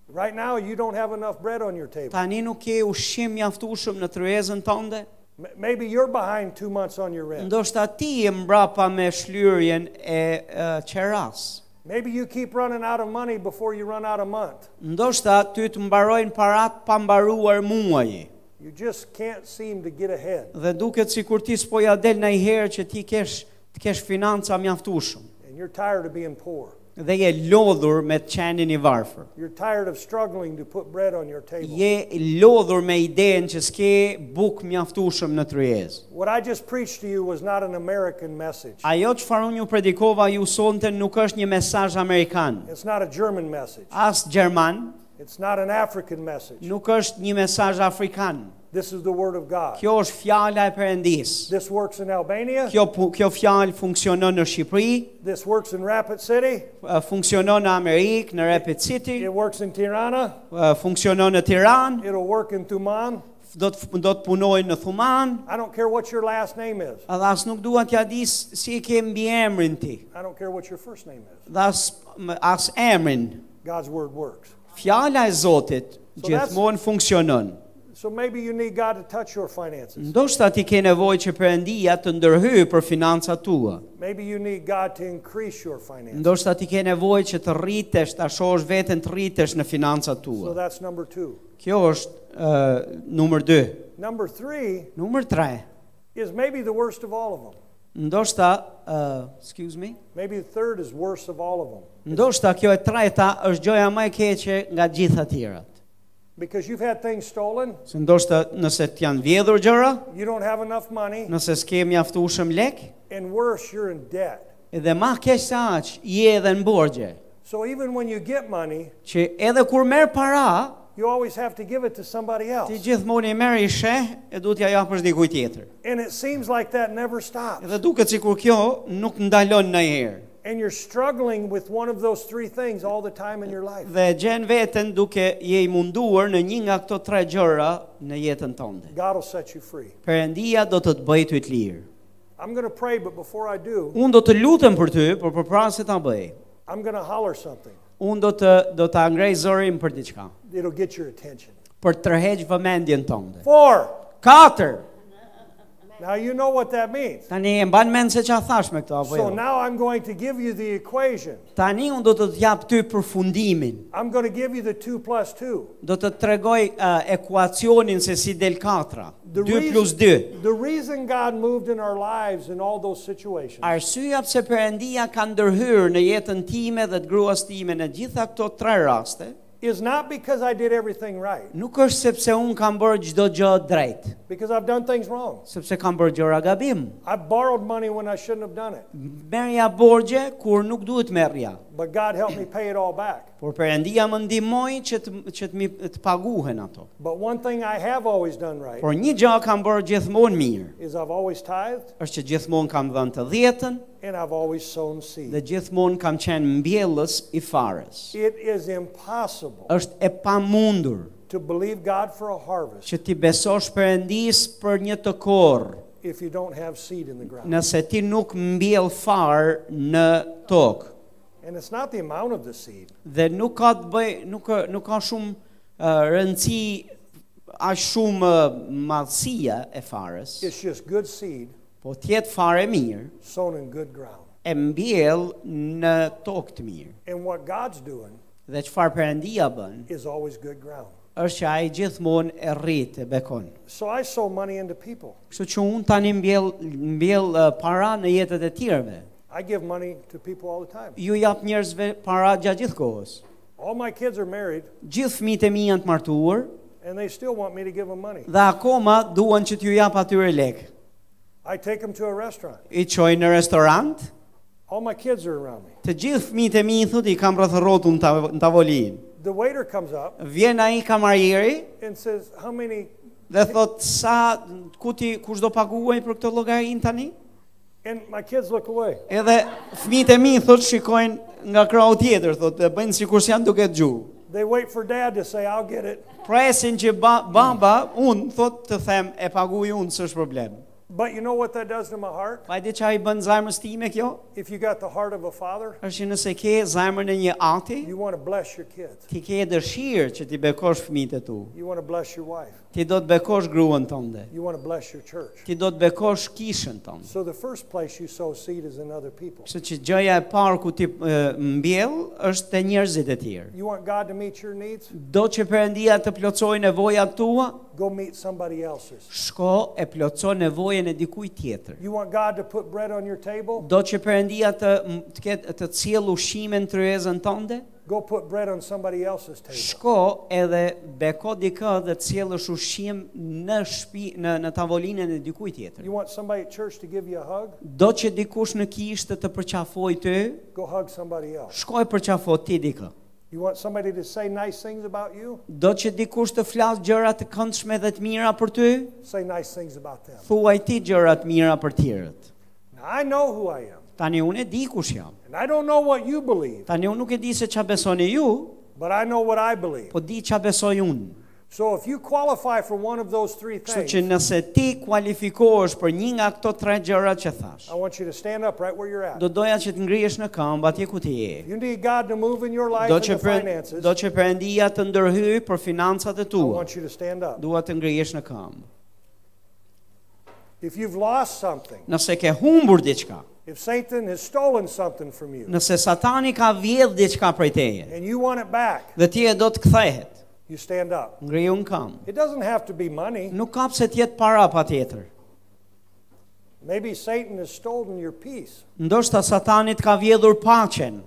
Right now, you don't have enough bread on your table.
Tani nuk ke ushqim mjaftueshëm në tryezën tënde?
M- Maybe you're behind two months on your rent.
Ndoshta ti je mbrapa me shlyrjen e, e qeras.
Maybe you keep running out of money before you run out of month.
Ndoshta ty të mbarojnë parat pa mbaruar muaji.
You just can't seem to get ahead,
Dhe duket sikur ti s'po ja del ndajherë që ti kesh të kesh financa mjaftueshëm.
and you're tired of being poor.
Dhe je lodhur me të qenin i varfër.
You're tired of struggling to put bread on your table.
Je lodhur me idenë që s'ke bukë mjaftueshëm në tryezë.
What I just preached to you was not an American message.
Ajo që farun ju predikova ju sonte nuk është një mesazh amerikan,
It's not a German message.
as gjerman,
It's not an African message.
nuk është një mesazh afrikan.
This is the Word of God.
Kjo është fjala e Perëndisë.
This works in Albania.
Kjo pu- kjo fjalë funksionon në Shqipëri,
This works in Rapid City.
eh, funksionon në Amerikë, në Rapid City,
It works in Tirana.
eh, funksionon në Tiranë,
It'll work in Tuman.
do të f- do të punojnë në Thuman.
I don't care what your last name is.
Edhe as nuk duan t'ja di s- si e ke mbi emrin ti,
I don't care what your first name is.
dhe as, m- as emrin.
God's word works.
Fjala e Zotit
that's-
gjithmonë funksionon.
So maybe you need God to touch your finances.
Ndoshta ti ke nevojë që Perëndia të ndërhyjë për financat tua.
Maybe you need God to increase your finances.
Ndoshta ti ke nevojë që të rritesh, ta shohësh veten të rritesh në financat
So
tua.
that's number two.
Kjo është ë numër 2.
Number three
Numër 3.
is maybe the worst of all of them.
Ndoshta ë excuse me.
Maybe the third is worse of all of them
Ndoshta kjo e treta është gjoja më e keqe nga gjitha të tjerat.
because you've had things stolen.
Se ndoshta nëse të janë vjedhur gjëra,
You don't have enough money,
nëse s'ke mjaftueshëm lek,
and worse, you're in debt.
edhe më keq se aq, je edhe në borxhe.
So even when you get money,
Që edhe kur merr para,
you always have to give it to somebody else.
Ti gjithmonë i merr i sheh e duhet ja japësh dikujt tjetër.
And it seems like that never stops.
Edhe duket sikur kjo nuk ndalon ndonjëherë.
And you're struggling with one of those three things all the time in your life.
Dhe e gjen veten duke je i munduar në një nga këto tre gjëra në jetën tënde.
God will set you free.
Perëndia do të të bëjë ty të lirë.
I'm going to pray, but before I do,
Unë do të lutem për ty, por përpara se ta bëj,
I'm going to holler something.
unë do të do ta ngrej zërin për diçka,
It'll get your attention.
për të tërheq vëmendjen tënde.
Four.
4.
Now you know what that means.
Tani e mban mend se çfarë thash me këto apo
So
jo?
now I'm going to give you the equation.
Tani unë do të të jap ty përfundimin.
I'm going to give you the two plus two.
Do të të tregoj uh, ekuacionin se si del 4.
The
2
reason-
plus 2.
The reason God moved in our lives in all those situations
Arsyja pse Perëndia ka ndërhyrë në jetën time dhe të gruas time në gjitha këto tre raste,
is not because I did everything right,
nuk është sepse un kam bërë çdo gjë drejt,
because I've done things wrong.
sepse kam bërë gjëra gabim.
I borrowed money when I shouldn't have done it,
Merja borgje kur nuk duhet merrja,
but God helped me pay it all back.
por Perëndia më ndihmoi që të që të, mi, të paguhen ato.
But one thing I have always done right
Por një gjë kam bërë gjithmonë mirë,
is I've always tithed
është që gjithmonë kam dhënë të dhjetën
and I've always sown seed.
dhe gjithmonë kam qenë mbjellës i fares.
It is impossible
është e pamundur
to believe God for a harvest
që ti besosh Perëndis për një të korr
if you don't have seed in the ground.
nëse ti nuk mbjell farë në tokë
And it's not the amount of the seed.
dhe nuk ka të bëj nuk nuk ka shumë uh, rëndësi aq shumë uh, madhësia e farës,
It's just good seed
po tjetë farë e mirë,
sown in good ground.
e mbjell në tokë të mirë.
And what God's doing
Dhe çfarë Perëndia bën,
is always good ground.
është që ai gjithmonë e rrit e bekon.
So I sow money into people.
Kështu që unë tani mbjell mbjell uh, para në jetët e tjerëve.
I give money to people all the time.
Ju jap njerëzve para gjatë gjithë kohës.
All my kids are married
Gjithë fëmijët e mi janë të martuar
and they still want me to give them money.
dhe akoma duan që t'ju jap atyre lekë.
I take them to a restaurant.
I çoj në restorant,
All my kids are around me.
të gjithë fëmijët e mi i thotë i kam rrethërrotur në tav- në tavolinë.
The waiter comes up
Vjen ai kamarieri
and says, How many?
dhe thot sa ku ti kush do paguaj për këtë llogarin tani?
And my kids look away.
Edhe fëmijët e mi thot shikojnë nga krau tjetër, thot e bëjnë sikur se janë duke dëgjuar.
They wait for dad to say, I'll get it.
Presin që ba, baba, unë, thot të them, e paguj unë, së është problem.
But you know what that does to my heart?
Pa e di që a i bën zajmës time kjo?
If you got the heart of a father,
është që nëse ke zajmën e një ati,
you want to bless your kids.
ti ke dëshirë që ti bekosh fëmijët e tu.
You want to bless your wife.
Ti do të bekosh gruan tënde.
You want to bless your church.
Ti do të bekosh kishën tënde.
So the first place you sow seed is in other people.
Kështu që gjëja e parë ku ti e, mbjell është te njerëzit e tjerë.
You want God to meet your needs?
Do që Perëndia të plotësoj nevojat tua,
Go meet somebody else's.
shko e plotëso nevojën e dikujt tjetër.
You want God to put bread on your table?
Do që Perëndia të të ketë të cilë ushqime në tryezën tënde,
Go put bread on somebody else's table.
Shko edhe beko dikë dhe cjellësh ushqim në shtëpi në në tavolinën e dikujt tjetër.
You want somebody at church to give you a hug?
Do që dikush në kishtë të përqafoj ty,
Go hug somebody else.
shko e përqafoj ti dikë.
You want somebody to say nice things about you?
Do që dikush të flasë gjëra të këndshme dhe të mira për ty,
Say nice things about them.
thuaj ti gjëra të mira për tjerët.
Now, I know who I am,
Tani unë e di kush jam.
and I don't know what you believe,
Tani unë nuk e di se qa besoni ju,
but I know what I believe.
po di qa besoj unë.
So if you qualify for one of those three
Kështu që
things,
nëse ti kualifikohesh për një nga këto tre gjëra që thash,
I want you to stand up right where you're at.
do doja që të ngrihesh në këmbë atje ku ti je.
You need God to move in your life
do
and
që
the
për,
finances.
do
I
që Perëndia të ndërhyj për financat e tua.
want you to stand up.
Dua të ngrihesh në këmbë.
If you've lost something,
Nëse ke humbur diçka,
if Satan has stolen something from you
nëse Satani ka vjedh diçka prej teje
and you want it back,
dhe ti e do të kthehet,
you stand up.
ngrihu në këmbë.
It doesn't have to be money.
Nuk ka pse të jetë para patjetër.
Maybe Satan has stolen your peace.
Ndoshta Satani të ka vjedhur paqen.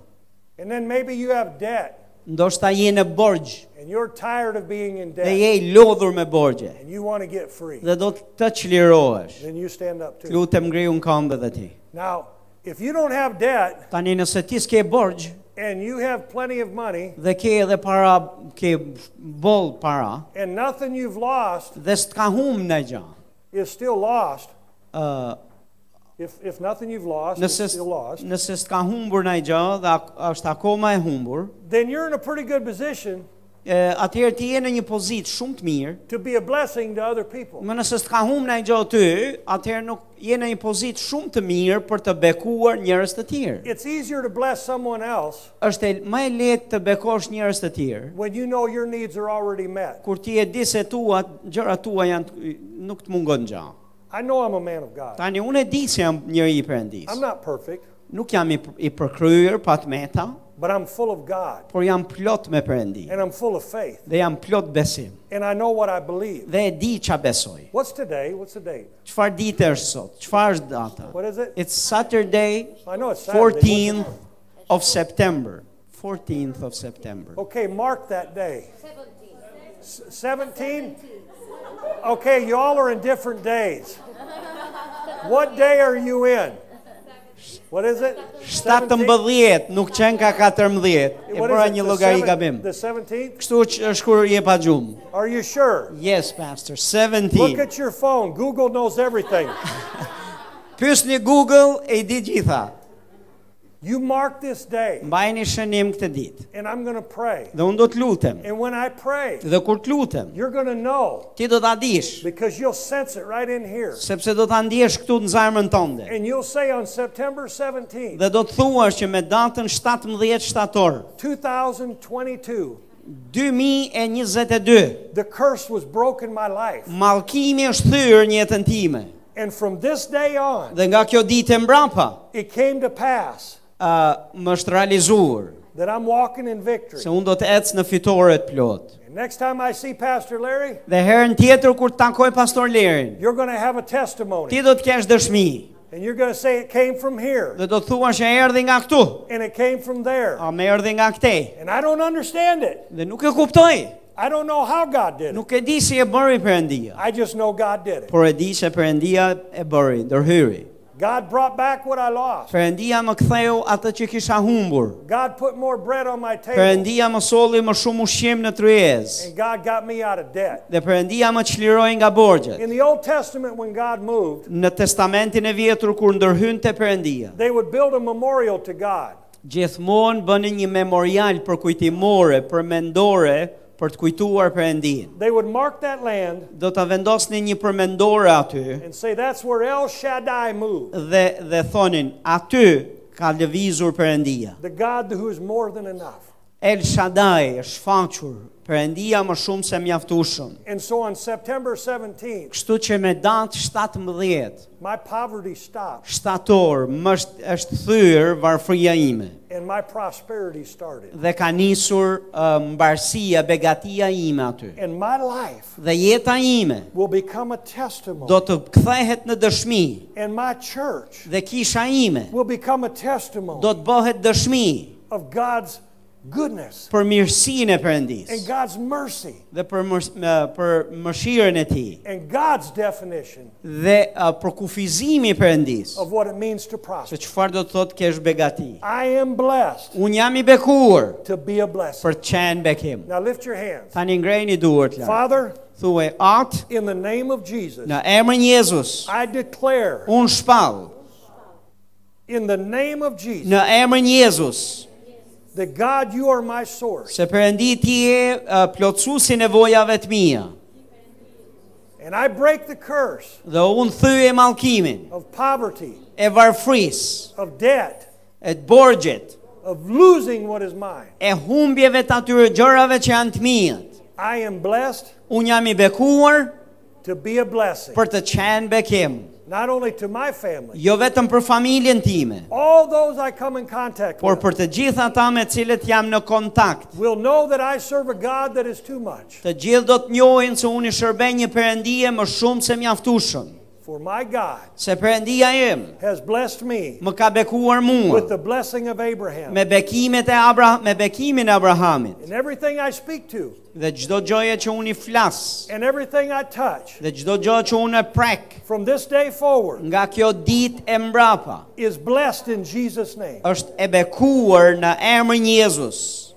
And then maybe you have debt
Ndoshta je në borxh
and you're tired of being in
dhe
debt
je i lodhur me borxhe
and you want to get free.
dhe do të të çlirohesh.
Then you stand up too.
Lutem ngrihu në këmbë edhe ti.
Now, if you don't have debt
Tani nëse ti s'ke borxh
and you have plenty of money
dhe ke edhe para ke boll para,
and nothing you've lost
dhe s'ka hum në gjë.
is still lost,
Uh,
if, if nothing you've lost
nëse,
is still lost,
nëse s'ka humbur në gjë dhe ak- është akoma e humbur,
then you're in a pretty good position
e, atëherë ti je në një pozitë shumë të mirë,
to be a blessing to other people.
më nëse s'ka humbur në gjë ty, atëherë nuk je në një pozitë shumë të mirë për të bekuar njerëz të tjerë.
It's easier to bless someone else
Është e- më e lehtë të bekosh njerëz të tjerë
when you know your needs are already met.
kur ti e di se tua gjërat tua janë nuk të mungon gjë.
I know I'm a man of God.
Tani unë e di se jam njëri i Perëndis.
I'm not perfect,
Nuk jam i, i përkryer pa të meta,
but I'm full of God
por jam plot me Perëndin.
and I'm full of faith
dhe jam plot besim
and I know what I believe.
dhe e di qa besoj.
What's today? What's the date?
Çfarë dite është sot? Çfarë është data?
What is it?
It's Saturday,
I know it's Saturday. What's the
14th of September. 14th of September.
Okay, mark that day. 17. 17? Okay, y'all are in different days. What day are you in? What is it? 17th?
17 nuk qenë ka 14. E
What is
bëra
it,
një
the
llogari
seven-
gabim.
The 17th?
Kështu që është kur je pa gjumë.
Are you sure?
Yes, pastor,
Look
17.
at your phone. Google knows everything.
Pyes një Google e i di gjitha.
You mark this day,
Mbajeni shënim këtë ditë.
and I'm going to pray.
Dhe unë do të lutem.
And when I pray,
Dhe kur të lutem,
you're going to know
ti do ta dish,
because you'll sense it right in here.
sepse do ta ndjesh këtu në zemrën tënde.
And you'll say on September 17th,
Dhe do të thuash që me datën 17 shtator
2022,
2022,
the curse was broken my life.
mallkimi është thyrë në jetën time.
And from this day on,
Dhe nga kjo ditë e mbrapa,
it came to pass
ë më është realizuar
that I'm walking in victory.
se unë do të ecë në fitore të plot.
And next time I see Pastor Larry,
Dhe herën tjetër kur të takoj pastor Lerin,
you're going to have a testimony.
ti do të kesh dëshmi
And you're going to say it came from here
dhe do të thuash që erdhi nga këtu,
and it came from there.
a më erdhi nga këtej.
And I don't understand it.
Dhe nuk e kuptoj.
I don't know how God did it.
Nuk e di si e bëri Perëndia,
I just know God did it.
por e di se Perëndia e bëri, ndërhyri.
God brought back what I lost.
Perëndia më ktheu atë që kisha humbur.
God put more bread on my table.
Perëndia më solli më shumë ushqim në tryezë.
And God got me out of debt.
Dhe Perëndia më çliroi nga borxhet.
In the Old Testament, when God moved,
Në Testamentin e Vjetër kur ndërhynte Perëndia,
they would build a memorial to God.
gjithmonë bënin një memorial për kujtimore, për mendore, për të kujtuar Perëndin.
They would mark that land
Do ta vendosnin një përmendore aty
and say, That's where El Shaddai moved,
dhe dhe thonin, aty ka lëvizur Perëndia.
the God who is more than enough.
El Shaddai është faqur, Perëndia më shumë se mjaftueshëm.
And so on September 17th,
Kështu që me datë 17
my poverty stopped
shtator më është është thyer varfëria ime
and my prosperity started.
dhe ka nisur uh, mbarësia, begatia ime aty.
And my life
Dhe jeta ime
will become a
do
testimony.
të kthehet në dëshmi
And my church
dhe kisha ime
will become a
do
testimony
të bëhet dëshmi
of God's goodness
për mirësinë e
and
Perëndis
God's mercy
dhe për mërs- më- për mëshirën e tij
and God's definition
dhe uh, për kufizimin e Perëndis
of what it means to
se
prosper.
çfarë do të thotë kesh begati.
I am blessed
Un jam i bekuar
to be a blessing.
për të qenë bekim.
Now lift your hands.
Tani ngrejni duart lart.
Father,
Thuaj atë
in the name of Jesus,
në emrin e Jezus.
I declare
Un shpall
in the name of Jesus
në emrin e Jezus
that God, you are my source,
se Perëndi ti je uh, plotësuesi nevojave të mia
and I break the curse
dhe un thyej mallkimin
of poverty,
e varfërisë,
of debt,
e të borxhet,
of losing what is mine.
e humbjeve të atyre gjërave që janë të mia.
I am blessed
Un jam i bekuar
to be a blessing,
për të qenë bekim,
not only to my family,
jo vetëm për familjen time,
all those I come in contact
por
with
për të gjithë ata me të cilët jam në kontakt.
will know that I serve a God that is too much.
Të gjithë do të njohin se unë i shërbej një perëndije më shumë se mjaftueshëm,
For my God
se perëndia im
has blessed me
më ka bekuar mua
with the blessing of Abraham.
me bekimet e Abra me bekimin e Abrahamit
And everything I speak to,
dhe çdo gjëje që unë i flas
and everything I touch,
dhe çdo gjë që unë e prek
from this day forward,
nga kjo ditë e mbrapa
is blessed in Jesus' name.
është e bekuar në emrin e Jezus.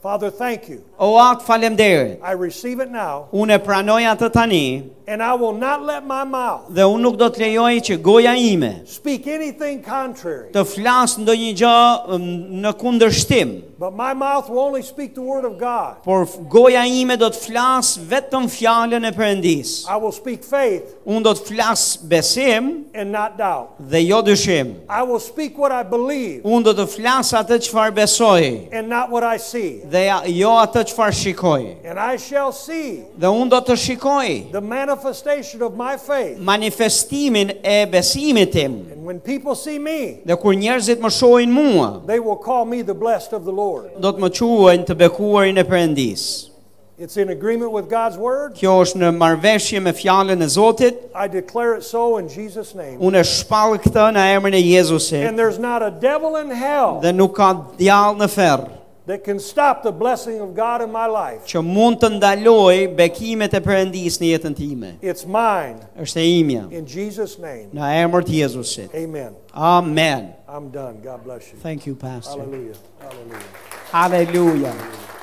Father, thank you.
O atë falemderit.
I receive it now,
Unë e pranoj atë tani
and I will not let my mouth
dhe unë nuk do të lejoj që goja ime
speak anything contrary,
të flas ndonjë gjë mm, në kundërshtim,
but my mouth will only speak the word of God.
por f- goja ime do të flas vetëm fjalën e Perëndis.
I will speak faith
Unë do të flas besim
and not doubt.
dhe jo dyshim.
I will speak what I believe
Unë do të flas atë çfarë besoj
and not what I see.
dhe ja- jo atë çfarë shikoj.
And I shall see
Dhe unë do të shikoj
the manifestation of my faith.
manifestimin e besimit tim.
And when people see me,
Dhe kur njerëzit më shohin mua,
they will call me the blessed of the Lord.
do të më quajnë të bekuarin e Perëndis.
It's in agreement with God's word.
Kjo është në marrëveshje me fjalën e Zotit.
I declare it so in Jesus' name.
Unë e shpall këtë në emrin e Jezusit
And there's not a devil in hell
dhe nuk ka djallë në ferr
that can stop the blessing of God in my life.
që mund të ndaloj bekimet e Perëndis në jetën time.
It's mine
Është e imja
in Jesus' name.
në emër të Jezusit.
Amen.
Amen.
I'm done. God bless you.
Thank you, Pastor.
Hallelujah. Hallelujah.
Hallelujah.